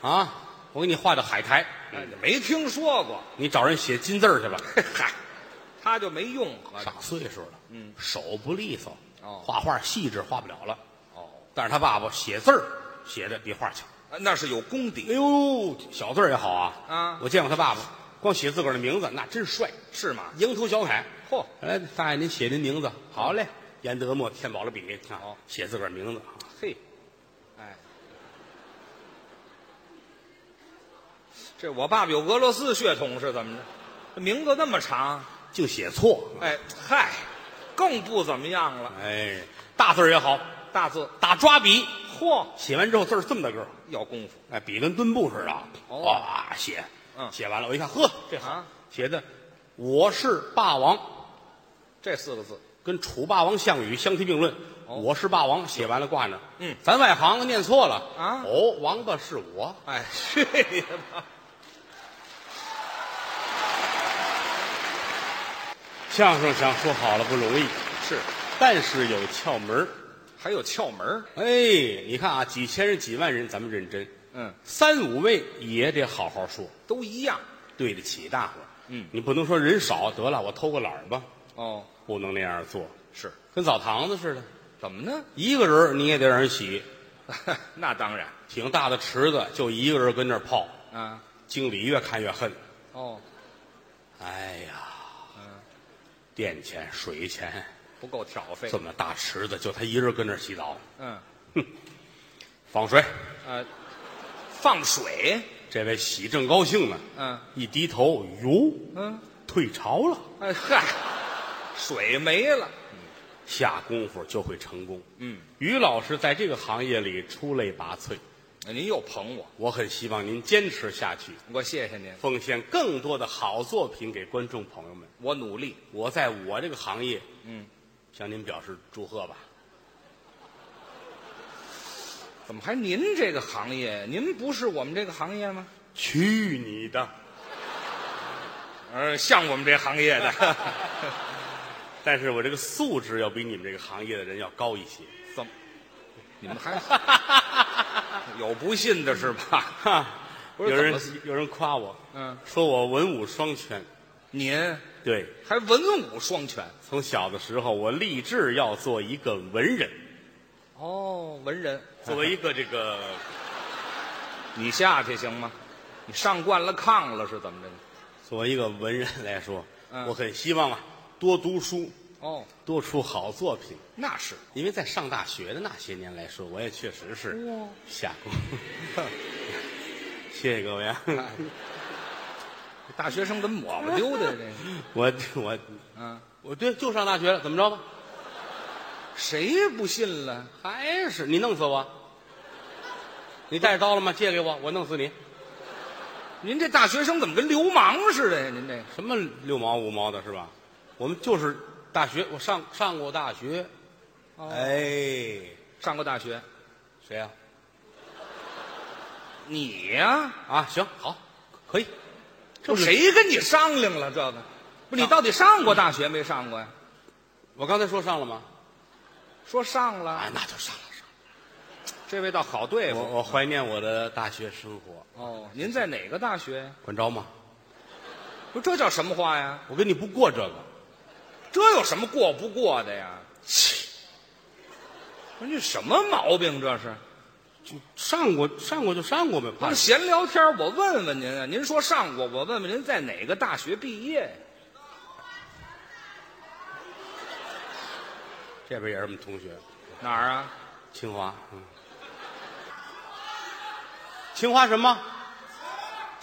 Speaker 1: 啊？我给你画的海苔，
Speaker 2: 哎，没听说过。
Speaker 1: 你找人写金字儿去吧。
Speaker 2: 嗨，他就没用。合着
Speaker 1: 上岁数了，嗯，手不利索，
Speaker 2: 哦
Speaker 1: 画画细致画不了了。
Speaker 2: 哦，
Speaker 1: 但是他爸爸写字儿写的比画强。
Speaker 2: 哎那是有功
Speaker 1: 哎
Speaker 2: 底，
Speaker 1: 呦，小字儿也好啊！
Speaker 2: 啊
Speaker 1: 我见过他爸爸，光写自个儿的名字那真帅，
Speaker 2: 是吗？
Speaker 1: 蝇头小楷。
Speaker 2: 嚯，
Speaker 1: 来，大爷您写您名字，好嘞。严德墨添饱了笔啊
Speaker 2: 好，
Speaker 1: 写自个儿名字啊。
Speaker 2: 嘿，哎，这我爸爸有俄罗斯血统是怎么着？这名字那么长，
Speaker 1: 净写错。
Speaker 2: 哎，嗨，更不怎么样了。
Speaker 1: 哎，大字儿也好，
Speaker 2: 大字，
Speaker 1: 大抓笔，
Speaker 2: 嚯，
Speaker 1: 写完之后字儿这么大个儿，
Speaker 2: 要功夫
Speaker 1: 哎，笔跟墩布似的啊，
Speaker 2: 哦
Speaker 1: 哇写，
Speaker 2: 嗯
Speaker 1: 写完了我一看，呵，这好，
Speaker 2: 啊！
Speaker 1: 写的我是霸王。
Speaker 2: 这四个字，
Speaker 1: 跟楚霸王项羽相提并论。
Speaker 2: 哦
Speaker 1: 我是霸王，写完了挂那儿。
Speaker 2: 嗯
Speaker 1: 咱外行念错了
Speaker 2: 啊
Speaker 1: 哦，王八是我，
Speaker 2: 哎， 去你的吧！
Speaker 1: 相声想说好了不容易，
Speaker 2: 是，
Speaker 1: 但是有窍门儿
Speaker 2: 还有窍门儿
Speaker 1: 哎，你看啊，几千人、几万人，咱们认真。
Speaker 2: 嗯，
Speaker 1: 三五位也得好好说，
Speaker 2: 都一样。
Speaker 1: 对得起大伙儿。
Speaker 2: 嗯
Speaker 1: 你不能说人少得了，我偷个懒儿吧，
Speaker 2: 哦，
Speaker 1: 不能那样做，
Speaker 2: 是，
Speaker 1: 跟澡堂子似的，
Speaker 2: 怎么呢？
Speaker 1: 一个人儿你也得让人 洗，
Speaker 2: 那当然
Speaker 1: 挺大的池子就一个人跟那儿泡，
Speaker 2: 啊。
Speaker 1: 经理越看越恨。
Speaker 2: 哦，
Speaker 1: 哎呀，
Speaker 2: 嗯
Speaker 1: 电钱、水钱，
Speaker 2: 不够挑费
Speaker 1: 这。么大池子，就他一人跟那儿洗澡，
Speaker 2: 嗯，
Speaker 1: 放水。
Speaker 2: 呃，放水。
Speaker 1: 这位洗正高兴呢，
Speaker 2: 嗯
Speaker 1: 一低头，哟，
Speaker 2: 嗯，
Speaker 1: 退潮了。
Speaker 2: 哎嗨，水没了。
Speaker 1: 下功夫就会成功。
Speaker 2: 嗯，
Speaker 1: 于老师在这个行业里出类拔萃，
Speaker 2: 您又捧我，
Speaker 1: 我很希望您坚持下去，
Speaker 2: 我谢谢您，
Speaker 1: 奉献更多的好作品给观众朋友们。
Speaker 2: 我努力。
Speaker 1: 我在我这个行业
Speaker 2: 嗯，
Speaker 1: 向您表示祝贺吧。
Speaker 2: 怎么还您这个行业？您不是我们这个行业吗？
Speaker 1: 去你的！
Speaker 2: 呃，像我们这行业的，
Speaker 1: 但是我这个素质要比你们这个行业的人要高一些。
Speaker 2: 怎么？你们 还有不信的是吧？
Speaker 1: 哈，
Speaker 2: 不
Speaker 1: 有
Speaker 2: 是
Speaker 1: 人
Speaker 2: 怎
Speaker 1: 有人夸我，
Speaker 2: 嗯，
Speaker 1: 说我文武双全。
Speaker 2: 您
Speaker 1: 对，
Speaker 2: 还文武双全
Speaker 1: 从小的时候我立志要做一个文人，
Speaker 2: 哦，文人。
Speaker 1: 作为一个这个
Speaker 2: 你下去行吗？你上惯了炕了是怎么着呢？
Speaker 1: 作为一个文人来说，
Speaker 2: 嗯
Speaker 1: 我很希望啊多读书，
Speaker 2: 哦，
Speaker 1: 多出好作品。
Speaker 2: 那是
Speaker 1: 因为在上大学的那些年来说，我也确实是下过。谢谢各位啊！
Speaker 2: 大学生怎么抹不丢的这个？
Speaker 1: 我我
Speaker 2: 嗯，
Speaker 1: 我对，就上大学了，怎么着吧？
Speaker 2: 谁不信了？
Speaker 1: 还是你弄死我？你带着刀了吗？借给我，我弄死你！
Speaker 2: 您这大学生怎么跟流氓似的呀？您这个
Speaker 1: 什么六毛五毛的是吧？我们就是大学，我上上过大学。哎，
Speaker 2: 上过大学，
Speaker 1: 谁啊呀、
Speaker 2: 你呀、
Speaker 1: 啊？行，好，可以。
Speaker 2: 这
Speaker 1: 是？
Speaker 2: 谁跟你商量了这个？不，你到底上过大学没上过呀？
Speaker 1: 我刚才说上了吗？
Speaker 2: 说上了，
Speaker 1: 啊，那就上了上了。
Speaker 2: 这位倒好对
Speaker 1: 我
Speaker 2: 付。
Speaker 1: 我怀念我的大学生活，
Speaker 2: 哦，您在哪个大学呀？
Speaker 1: 管着吗？
Speaker 2: 不，这叫什么话呀？
Speaker 1: 我跟你不过这个。
Speaker 2: 这有什么过不过的呀？切！不是这什么毛病？这是
Speaker 1: 上过上过就上过呗，
Speaker 2: 不
Speaker 1: 怕
Speaker 2: 是
Speaker 1: 什么
Speaker 2: 闲聊天儿？我问问您啊，您说上过，我问问您在哪个大学毕业？
Speaker 1: 这边也是我们同学，
Speaker 2: 哪儿啊？
Speaker 1: 清华，嗯，清华什么？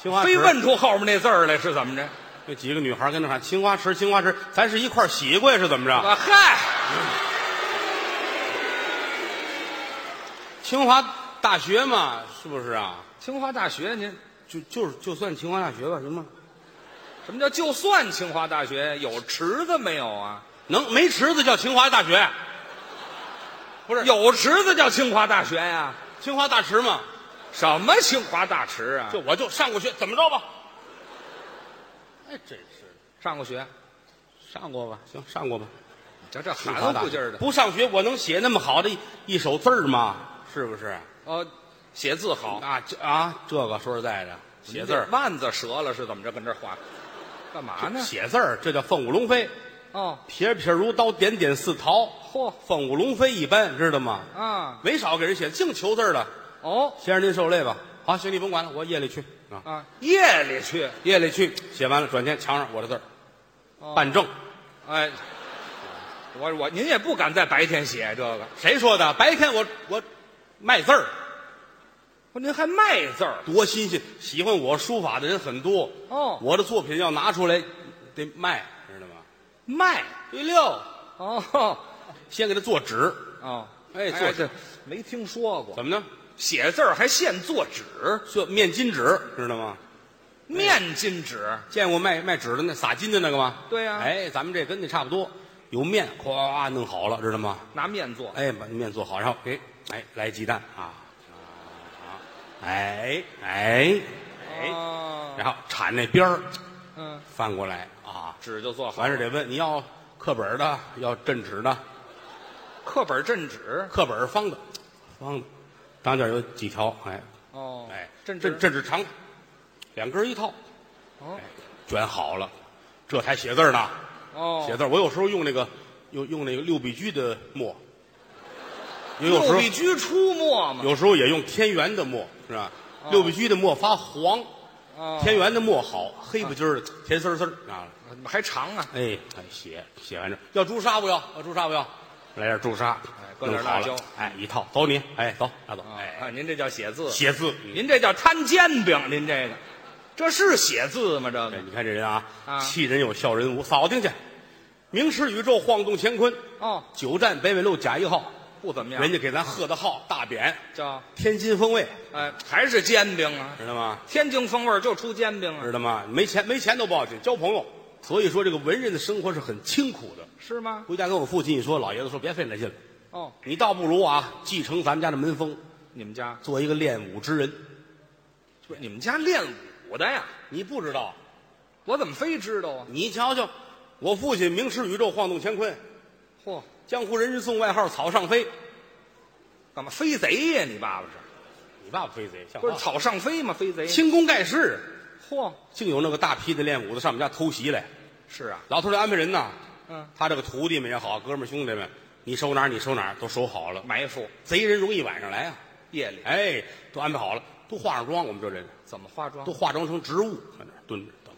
Speaker 1: 清华池
Speaker 2: 非问出后面那字儿来是怎么着？
Speaker 1: 那几个女孩跟那喊青花池，青花池，咱是一块儿洗过呀，是怎么着？
Speaker 2: 啊嗨，
Speaker 1: 清华大学嘛，是不是啊？
Speaker 2: 清华大学，您
Speaker 1: 就就是就算清华大学吧，行吗？
Speaker 2: 什么叫就算清华大学有池子没有啊？
Speaker 1: 能没池子叫清华大学，
Speaker 2: 不是有池子叫清华大学呀、
Speaker 1: 清华大池嘛？
Speaker 2: 什么清华大池啊？
Speaker 1: 就我就上过学，怎么着吧？哎，真是
Speaker 2: 上过学，
Speaker 1: 上过吧？行，上过吧。
Speaker 2: 这这
Speaker 1: 清
Speaker 2: 喊
Speaker 1: 华
Speaker 2: 都
Speaker 1: 大
Speaker 2: 不劲儿的。
Speaker 1: 不上学我能写那么好的一一手字儿吗？是不是？
Speaker 2: 哦，写字好，
Speaker 1: 啊，这啊，这个说实在的，写字儿，
Speaker 2: 腕子折了是怎么着？跟这儿画，干嘛呢？
Speaker 1: 写字儿，这叫凤舞龙飞，
Speaker 2: 哦，
Speaker 1: 撇撇如刀，点点似桃，
Speaker 2: 嚯
Speaker 1: 凤舞龙飞一般，知道吗？
Speaker 2: 啊，
Speaker 1: 没少给人写，净求字儿的。
Speaker 2: 哦
Speaker 1: 先生您受累吧，好，行，你甭管了，我夜里去啊，
Speaker 2: 啊，夜里去，
Speaker 1: 夜里去，写完了，转天墙上我的字儿，办证。
Speaker 2: 哎，我我您也不敢在白天写这个，
Speaker 1: 谁说的？白天我我卖字儿，
Speaker 2: 不哦您还卖字儿？
Speaker 1: 多新鲜！喜欢我书法的人很多
Speaker 2: 哦
Speaker 1: 我的作品要拿出来得卖，知道吗？
Speaker 2: 卖
Speaker 1: 第六，
Speaker 2: 哦
Speaker 1: 先给他做纸，
Speaker 2: 哦，
Speaker 1: 哎做
Speaker 2: 这这没听说过，
Speaker 1: 怎么呢？
Speaker 2: 写字儿还现做
Speaker 1: 哎
Speaker 2: 纸，
Speaker 1: 做面巾纸，知道吗？
Speaker 2: 面巾纸，
Speaker 1: 见过卖卖纸的那撒金的那个吗？
Speaker 2: 对啊呀
Speaker 1: 哎，咱们这跟那差不多，有面咵弄好了，知道吗？
Speaker 2: 拿面做，
Speaker 1: 哎，把面做好，然后哎哎来鸡蛋啊，啊哎哎哎，
Speaker 2: 哦，
Speaker 1: 然后铲那边儿
Speaker 2: 嗯，
Speaker 1: 翻过来啊，
Speaker 2: 纸就做好
Speaker 1: 完事得问你要课本儿的，要镇纸的，
Speaker 2: 课本镇纸，
Speaker 1: 课本儿方的，方的，当间有几条，哎
Speaker 2: 哦，
Speaker 1: 哎，
Speaker 2: 镇
Speaker 1: 镇
Speaker 2: 纸，
Speaker 1: 镇纸长，两根儿一套，
Speaker 2: 哦
Speaker 1: 哎，卷好了，这才写字儿呢，
Speaker 2: 哦，
Speaker 1: 写字儿。我有时候用那个用用那个六必居的墨，也有时
Speaker 2: 六
Speaker 1: 候
Speaker 2: 必居出没嘛，
Speaker 1: 有时候也用天元的墨，是吧？六必居的墨发黄，
Speaker 2: 哦
Speaker 1: 天元的墨好，黑不筋儿的，甜丝丝儿啊！
Speaker 2: 还长啊，
Speaker 1: 哎，哎写写完这要朱砂不要？要朱砂不要？来点朱砂，
Speaker 2: 哎搁
Speaker 1: 弄
Speaker 2: 点
Speaker 1: 好了
Speaker 2: 辣椒，
Speaker 1: 哎，一套走你，哎，走，拿走，
Speaker 2: 啊，
Speaker 1: 哎，
Speaker 2: 您这叫写字，
Speaker 1: 写字。嗯
Speaker 2: 您这叫摊煎饼，您这个，这是写字吗？这
Speaker 1: 哎
Speaker 2: 个
Speaker 1: 你看这人啊
Speaker 2: 啊，
Speaker 1: 气人有笑人无，扫听去，明驰宇宙，晃动乾坤，
Speaker 2: 哦，
Speaker 1: 九站北纬路甲一号，
Speaker 2: 不怎么样，
Speaker 1: 人家给咱贺的号大匾，
Speaker 2: 叫
Speaker 1: 天津风味，
Speaker 2: 哎，还是煎饼啊，
Speaker 1: 知道吗？
Speaker 2: 天津风味儿就出煎饼啊
Speaker 1: 知，道吗？没钱没钱都不要紧，交朋友。所以说，这个文人的生活是很清苦的。
Speaker 2: 是吗？
Speaker 1: 回家跟我父亲一说，老爷子说别费那劲了，
Speaker 2: 哦，
Speaker 1: 你倒不如啊继承咱们家的门风，
Speaker 2: 你们家
Speaker 1: 做一个练武之人。
Speaker 2: 不是你们家练武的呀？
Speaker 1: 你不知道，
Speaker 2: 我怎么非知道啊？
Speaker 1: 你瞧瞧，我父亲名驰宇宙，晃动乾坤，
Speaker 2: 嚯，
Speaker 1: 江湖人士送外号“草上飞
Speaker 2: 干嘛飞贼呀？你爸爸是？”。
Speaker 1: 你爸爸飞贼，像
Speaker 2: 不
Speaker 1: 话
Speaker 2: 是草上飞吗？飞贼？
Speaker 1: 轻功盖世，
Speaker 2: 嚯，
Speaker 1: 竟有那个大批的练武的上我们家偷袭来。
Speaker 2: 是啊，
Speaker 1: 老头儿就安排人呐，
Speaker 2: 嗯，
Speaker 1: 他这个徒弟们也好，哥们儿兄弟们，你收哪儿你收哪儿都收好了。
Speaker 2: 埋伏
Speaker 1: 贼人容易晚上来啊，
Speaker 2: 夜里
Speaker 1: 哎，都安排好了，都化上妆。我们这人
Speaker 2: 怎么化妆？
Speaker 1: 都化妆成植物，在那儿蹲着等。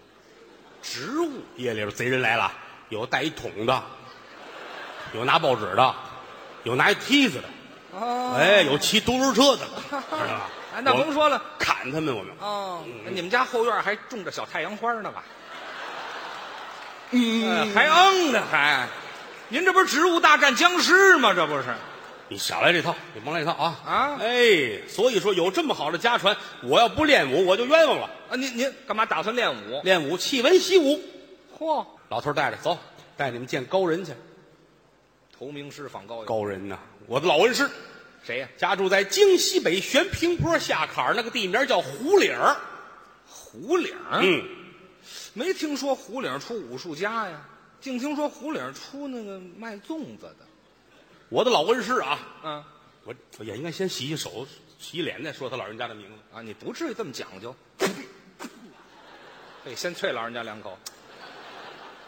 Speaker 2: 植物
Speaker 1: 夜里边贼人来了，有带一桶的，有拿报纸的，有拿一梯子的，
Speaker 2: 哦
Speaker 1: 哎，有骑独轮车的，知道 吧
Speaker 2: 啊，那
Speaker 1: 我们
Speaker 2: 甭说了。
Speaker 1: 砍他们，我们
Speaker 2: 哦，你们家后院还种着小太阳花呢吧？嗯，还嗯呢还，您这不是植物大战僵尸吗？这不是？
Speaker 1: 你少来这套，你甭来这套啊
Speaker 2: 啊
Speaker 1: 哎，所以说有这么好的家传，我要不练武我就冤枉了。
Speaker 2: 啊，您您干嘛打算练武？
Speaker 1: 练武弃文习武，
Speaker 2: 嚯，
Speaker 1: 老头儿带着走，带你们见高人去。
Speaker 2: 投名师访高友，
Speaker 1: 高人呐、我的老恩师，
Speaker 2: 谁呀？
Speaker 1: 家住在京西北悬平坡下坎儿那个地名叫胡岭儿。
Speaker 2: 胡岭，
Speaker 1: 嗯，
Speaker 2: 没听说胡岭出武术家呀，净听说胡岭出那个卖粽子的。
Speaker 1: 我的老恩师啊，
Speaker 2: 啊
Speaker 1: 我我也应该先洗洗手、洗脸，再说他老人家的名字。
Speaker 2: 啊，你不至于这么讲究。得先啐老人家两口。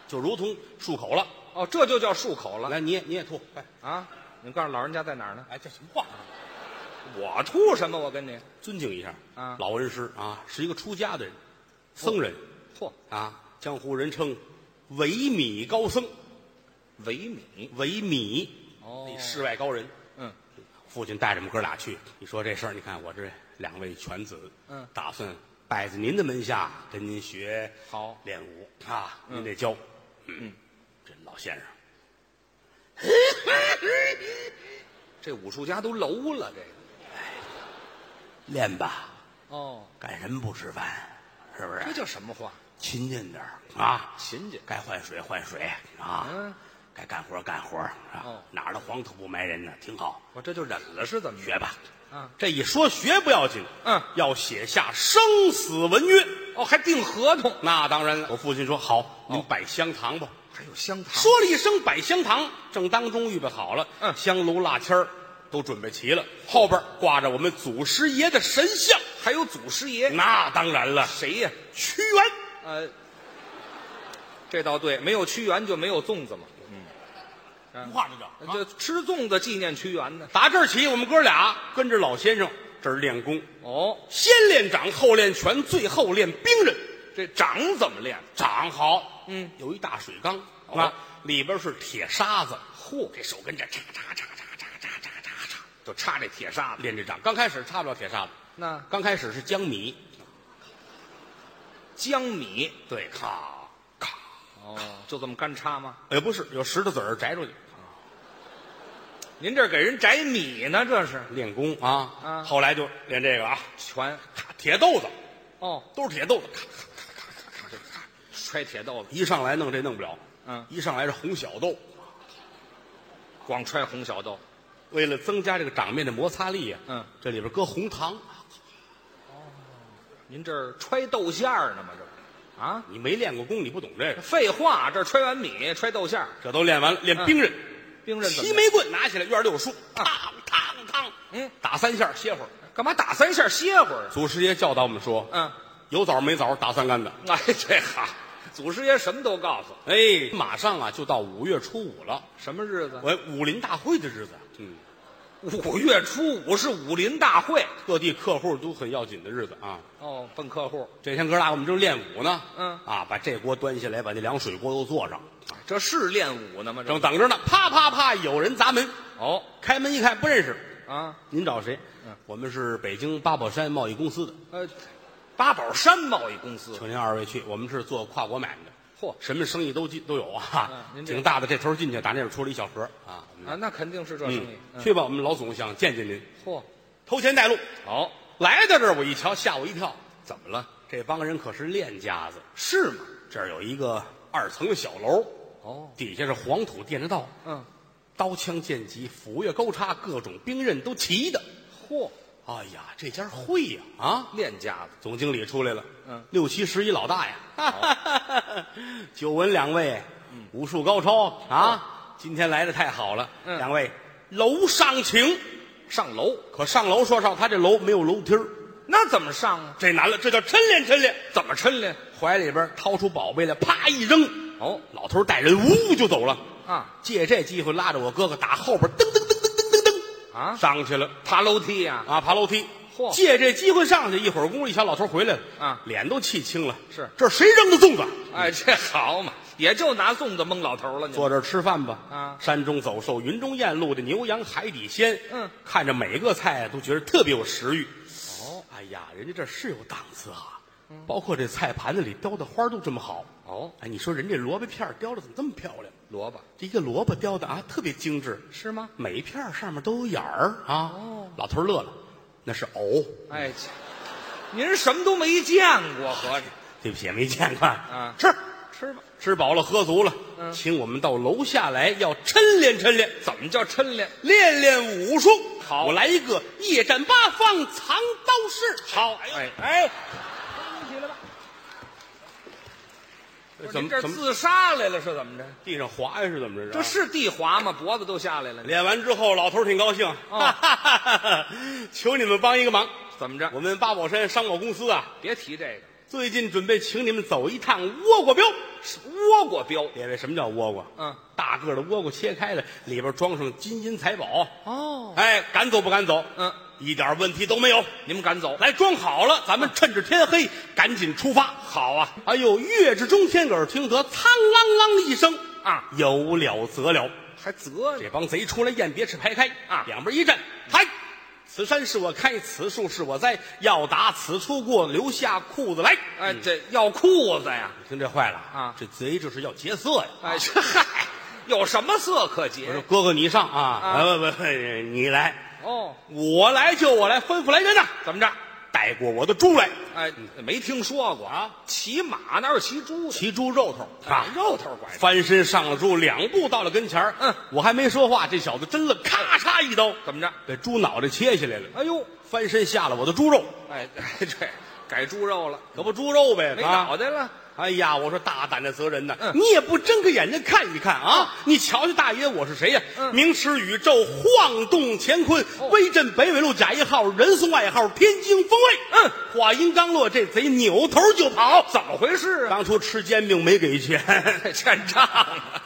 Speaker 1: 就如同漱口了。
Speaker 2: 哦，这就叫漱口了
Speaker 1: 来，你也你也吐，快！
Speaker 2: 啊！你告诉老人家在哪儿呢？
Speaker 1: 哎，这什么话？
Speaker 2: 我吐什么？我跟你，
Speaker 1: 尊敬一下
Speaker 2: 啊
Speaker 1: 老恩师啊，是一个出家的人，僧人、
Speaker 2: 嚯，
Speaker 1: 啊，江湖人称维米高僧，
Speaker 2: 维米
Speaker 1: 维米，
Speaker 2: 哦
Speaker 1: 那世外高人。
Speaker 2: 嗯，
Speaker 1: 父亲带着我们哥俩去，你说这事儿，你看我这两位犬子，
Speaker 2: 嗯
Speaker 1: 打算拜在您的门下跟您学
Speaker 2: 好
Speaker 1: 练武啊，您得教。嗯，这老先生，
Speaker 2: 这武术家都楼了，这个
Speaker 1: 练吧，
Speaker 2: 哦，
Speaker 1: 干什么不吃饭？是不
Speaker 2: 这
Speaker 1: 是？
Speaker 2: 叫什么话？
Speaker 1: 勤俭点儿啊，
Speaker 2: 勤俭
Speaker 1: 该换水换水啊，
Speaker 2: 嗯
Speaker 1: 该干活干活啊，
Speaker 2: 哦
Speaker 1: 哪儿的黄土不埋人呢？挺好，
Speaker 2: 我这就忍了是怎么着？
Speaker 1: 学吧。
Speaker 2: 啊，
Speaker 1: 这一说学不要紧，
Speaker 2: 嗯
Speaker 1: 要写下生死文约。
Speaker 2: 哦，还订合同，
Speaker 1: 那当然了，我父亲说好，
Speaker 2: 哦
Speaker 1: 您摆香堂吧。
Speaker 2: 还有香堂。
Speaker 1: 说了一声摆香堂，正当中预备好了，
Speaker 2: 嗯
Speaker 1: 香炉蜡签儿都准备齐了，后边挂着我们祖师爷的神像。
Speaker 2: 还有祖师爷
Speaker 1: 那当然了，
Speaker 2: 谁呀？
Speaker 1: 屈原。
Speaker 2: 嗯呃，这倒对，没有屈原就没有粽子嘛，
Speaker 1: 不怕这叫啊
Speaker 2: 那嗯呃就啊吃粽子纪念屈原呢。
Speaker 1: 打这儿起，我们哥俩跟着老先生这儿练功，
Speaker 2: 哦，
Speaker 1: 先练掌，后练拳，最后练兵刃。
Speaker 2: 这掌怎么练？
Speaker 1: 掌好，
Speaker 2: 嗯，
Speaker 1: 有一大水缸
Speaker 2: 哦
Speaker 1: 啊，里边是铁砂子，
Speaker 2: 嚯，
Speaker 1: 这手跟这叉叉叉叉叉叉叉叉叉
Speaker 2: 就插这铁砂子。
Speaker 1: 练这掌。刚开始插不了铁砂子，
Speaker 2: 那
Speaker 1: 刚开始是江米，
Speaker 2: 江米
Speaker 1: 对，咔咔，
Speaker 2: 哦，就这么干插吗？
Speaker 1: 也不是有石头子儿摘出去
Speaker 2: 您这给人摘米呢，这是
Speaker 1: 练功啊。
Speaker 2: 啊
Speaker 1: 后来就练这个啊，
Speaker 2: 全
Speaker 1: 咔铁豆子
Speaker 2: 哦，
Speaker 1: 都是铁豆子，咔
Speaker 2: 揣铁豆子，
Speaker 1: 一上来弄这弄不了，
Speaker 2: 嗯
Speaker 1: 一上来是红小豆。
Speaker 2: 光揣红小豆，
Speaker 1: 为了增加这个掌面的摩擦力啊，
Speaker 2: 嗯，
Speaker 1: 这里边搁红糖，
Speaker 2: 您这儿揣豆馅儿呢吗？这不啊，
Speaker 1: 你没练过功，你不懂这个。
Speaker 2: 废话，这揣完米揣豆馅儿，
Speaker 1: 这都练完了，练兵刃，
Speaker 2: 嗯兵刃怎
Speaker 1: 齐
Speaker 2: 么
Speaker 1: 眉棍拿起来，院里有树，
Speaker 2: 啊
Speaker 1: 烫烫烫，
Speaker 2: 嗯，
Speaker 1: 打三下歇会儿。
Speaker 2: 练干嘛打三下歇会儿？
Speaker 1: 祖师爷教导我们说，
Speaker 2: 嗯，
Speaker 1: 有枣没枣打三竿子。
Speaker 2: 哎，这哈，祖师爷什么都告诉，
Speaker 1: 哎，马上啊就到五月初五了，
Speaker 2: 什么日子？
Speaker 1: 我武林大会的日子，嗯，
Speaker 2: 五月初五是武林大会
Speaker 1: 各地客户都很要紧的日子啊。
Speaker 2: 哦，奔客户，
Speaker 1: 这天哥俩我们正练武呢，
Speaker 2: 嗯
Speaker 1: 啊，把这锅端下来，把那凉水锅又做上，
Speaker 2: 这是练武呢吗？这
Speaker 1: 正等着呢，啪啪啪，有人砸门，
Speaker 2: 哦
Speaker 1: 开门一看不认识，
Speaker 2: 啊，
Speaker 1: 您找谁？
Speaker 2: 嗯，
Speaker 1: 我们是北京八宝山贸易公司的，
Speaker 2: 呃，八宝山贸易公司，
Speaker 1: 请您二位去。我们是做跨国买卖的，
Speaker 2: 嚯
Speaker 1: 什么生意都进都有啊
Speaker 2: 嗯，您这
Speaker 1: 挺大的。这头进去，打那边出了一小盒啊。我们
Speaker 2: 啊，那肯定是这生意。嗯
Speaker 1: 去吧，我们老总想见见您，
Speaker 2: 嚯，
Speaker 1: 头前带路。
Speaker 2: 好、
Speaker 1: 来到这儿，我一瞧，吓我一跳，
Speaker 2: 怎么了？
Speaker 1: 这帮人可是练家子。
Speaker 2: 是吗？
Speaker 1: 这儿有一个二层的小楼，
Speaker 2: 哦，
Speaker 1: 底下是黄土垫着道，
Speaker 2: 嗯，
Speaker 1: 刀枪剑戟、斧钺钩叉，各种兵刃都齐的。
Speaker 2: 嚯，
Speaker 1: 哎呀，这家会呀啊！
Speaker 2: 练家子。
Speaker 1: 总经理出来了，
Speaker 2: 嗯，
Speaker 1: 六七十一老大呀，久闻两位，武术高超啊，今天来的太好了，
Speaker 2: 嗯
Speaker 1: 两位楼上请。
Speaker 2: 上楼，
Speaker 1: 可上楼说上，他这楼没有楼梯儿
Speaker 2: 那怎么上啊？
Speaker 1: 这难了，这叫抻练抻练。
Speaker 2: 怎么抻练？
Speaker 1: 怀里边掏出宝贝来，啪一扔，
Speaker 2: 哦
Speaker 1: 老头带人呜就走了。
Speaker 2: 啊
Speaker 1: 借这机会拉着我哥哥打后边，噔噔噔
Speaker 2: 啊，
Speaker 1: 上去了
Speaker 2: 爬楼梯呀、
Speaker 1: 啊，爬楼梯。
Speaker 2: 嚯
Speaker 1: 借这机会上去，一会儿功夫一瞧，老头回来了，
Speaker 2: 啊
Speaker 1: 脸都气青了。
Speaker 2: 是
Speaker 1: 这谁扔的粽子？
Speaker 2: 哎，这好嘛，也就拿粽子蒙老头了。你
Speaker 1: 坐这儿吃饭吧。
Speaker 2: 啊
Speaker 1: 山中走兽，云中雁，路的牛羊，海底鲜。
Speaker 2: 嗯，
Speaker 1: 看着每个菜啊都觉得特别有食欲。
Speaker 2: 哦嗯
Speaker 1: 哎呀，人家这是有档次啊！包括这菜盘子里雕的花都这么好。
Speaker 2: 哦，
Speaker 1: 哎，你说人这萝卜片儿雕的怎么这么漂亮？
Speaker 2: 萝卜
Speaker 1: 这一个萝卜雕的啊，特别精致，
Speaker 2: 是吗？
Speaker 1: 每一片儿上面都有眼儿啊。
Speaker 2: 哦，
Speaker 1: 老头儿乐了，那是藕。
Speaker 2: 哎，切您什么都没见过，合着
Speaker 1: 对不起，没见过。
Speaker 2: 啊
Speaker 1: 吃
Speaker 2: 吃吧？
Speaker 1: 吃饱了，喝足了，
Speaker 2: 嗯
Speaker 1: 请我们到楼下来，要抻练抻练。
Speaker 2: 怎么叫抻练？
Speaker 1: 练练武术。
Speaker 2: 好
Speaker 1: 我来一个夜战八方藏刀式。好，
Speaker 2: 哎
Speaker 1: 哎，
Speaker 2: 站起来吧。
Speaker 1: 怎
Speaker 2: 您
Speaker 1: 么
Speaker 2: 这
Speaker 1: 怎么
Speaker 2: 自杀来了是怎么着？
Speaker 1: 地上滑呀？是啊怎么着？
Speaker 2: 这是地滑吗？脖子都下来了，
Speaker 1: 练完之后，老头儿挺高兴，哈哈哈
Speaker 2: 哦
Speaker 1: 哈！ 求你们帮一个忙。
Speaker 2: 怎么着？
Speaker 1: 我们八宝山商贸公司啊，
Speaker 2: 别提这个
Speaker 1: 最近准备请你们走一趟倭瓜镖。
Speaker 2: 是倭瓜镖。
Speaker 1: 列位，什么叫倭瓜？
Speaker 2: 嗯，
Speaker 1: 大个儿的倭瓜切开了，里边装上金银财宝。
Speaker 2: 哦，
Speaker 1: 哎，赶走不赶走？
Speaker 2: 嗯，
Speaker 1: 一点问题都没有。
Speaker 2: 你们敢走？
Speaker 1: 来装好了，咱们
Speaker 2: 嗯
Speaker 1: 趁着天黑赶紧出发。好啊！哎呦，月之中天，耳听得苍啷啷一声
Speaker 2: 啊，
Speaker 1: 有了则了。
Speaker 2: 还责
Speaker 1: 这
Speaker 2: 你？
Speaker 1: 帮贼出来雁别翅排开
Speaker 2: 啊
Speaker 1: 两边一站，嗨，此山是我开，此树是我栽，要打此处过，留下裤子来。嗯
Speaker 2: 哎，这要裤子呀！
Speaker 1: 听这坏了
Speaker 2: 啊
Speaker 1: 这贼这是要劫色呀！
Speaker 2: 哎，这嗨，有什么色可
Speaker 1: 嗯我说
Speaker 2: 劫？
Speaker 1: 哥哥你上啊，
Speaker 2: 啊
Speaker 1: 哎不不不，你来，
Speaker 2: 哦，
Speaker 1: 我来就我来，吩咐来人呐，
Speaker 2: 怎么着？
Speaker 1: 带过我的猪来，
Speaker 2: 哎，没听说过
Speaker 1: 啊！
Speaker 2: 骑马哪有骑猪的？
Speaker 1: 骑猪肉头啊，
Speaker 2: 肉头拐着
Speaker 1: 翻身上了猪，两步到了跟前儿。
Speaker 2: 嗯，
Speaker 1: 我还没说话，这小子真了，咔嚓一刀，
Speaker 2: 怎么着？
Speaker 1: 把猪脑袋切下来了，
Speaker 2: 哎呦，
Speaker 1: 翻身下了我的猪肉，
Speaker 2: 哎哎，这改猪肉了，
Speaker 1: 可不猪肉呗，
Speaker 2: 没
Speaker 1: 啊
Speaker 2: 脑。袋了。
Speaker 1: 哎呀，我说大胆的责人呐，
Speaker 2: 嗯
Speaker 1: 你也不睁个眼睛看一看啊！你瞧瞧大爷我是谁呀、
Speaker 2: 嗯
Speaker 1: 明驰宇宙，晃动乾坤，
Speaker 2: 哦
Speaker 1: 威震北纬路甲一号，人送外号天津风卫。
Speaker 2: 嗯，
Speaker 1: 话音刚落，这贼扭头就跑，
Speaker 2: 怎么回事啊？
Speaker 1: 当初吃煎饼没给钱。
Speaker 2: 欠账啊！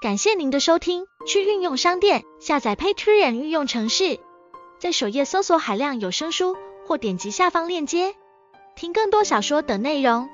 Speaker 4: 感谢您的收听，去运用商店下载 Patreon 运用城市，在首页搜索海量有声书，或点击下方链接听更多小说等内容。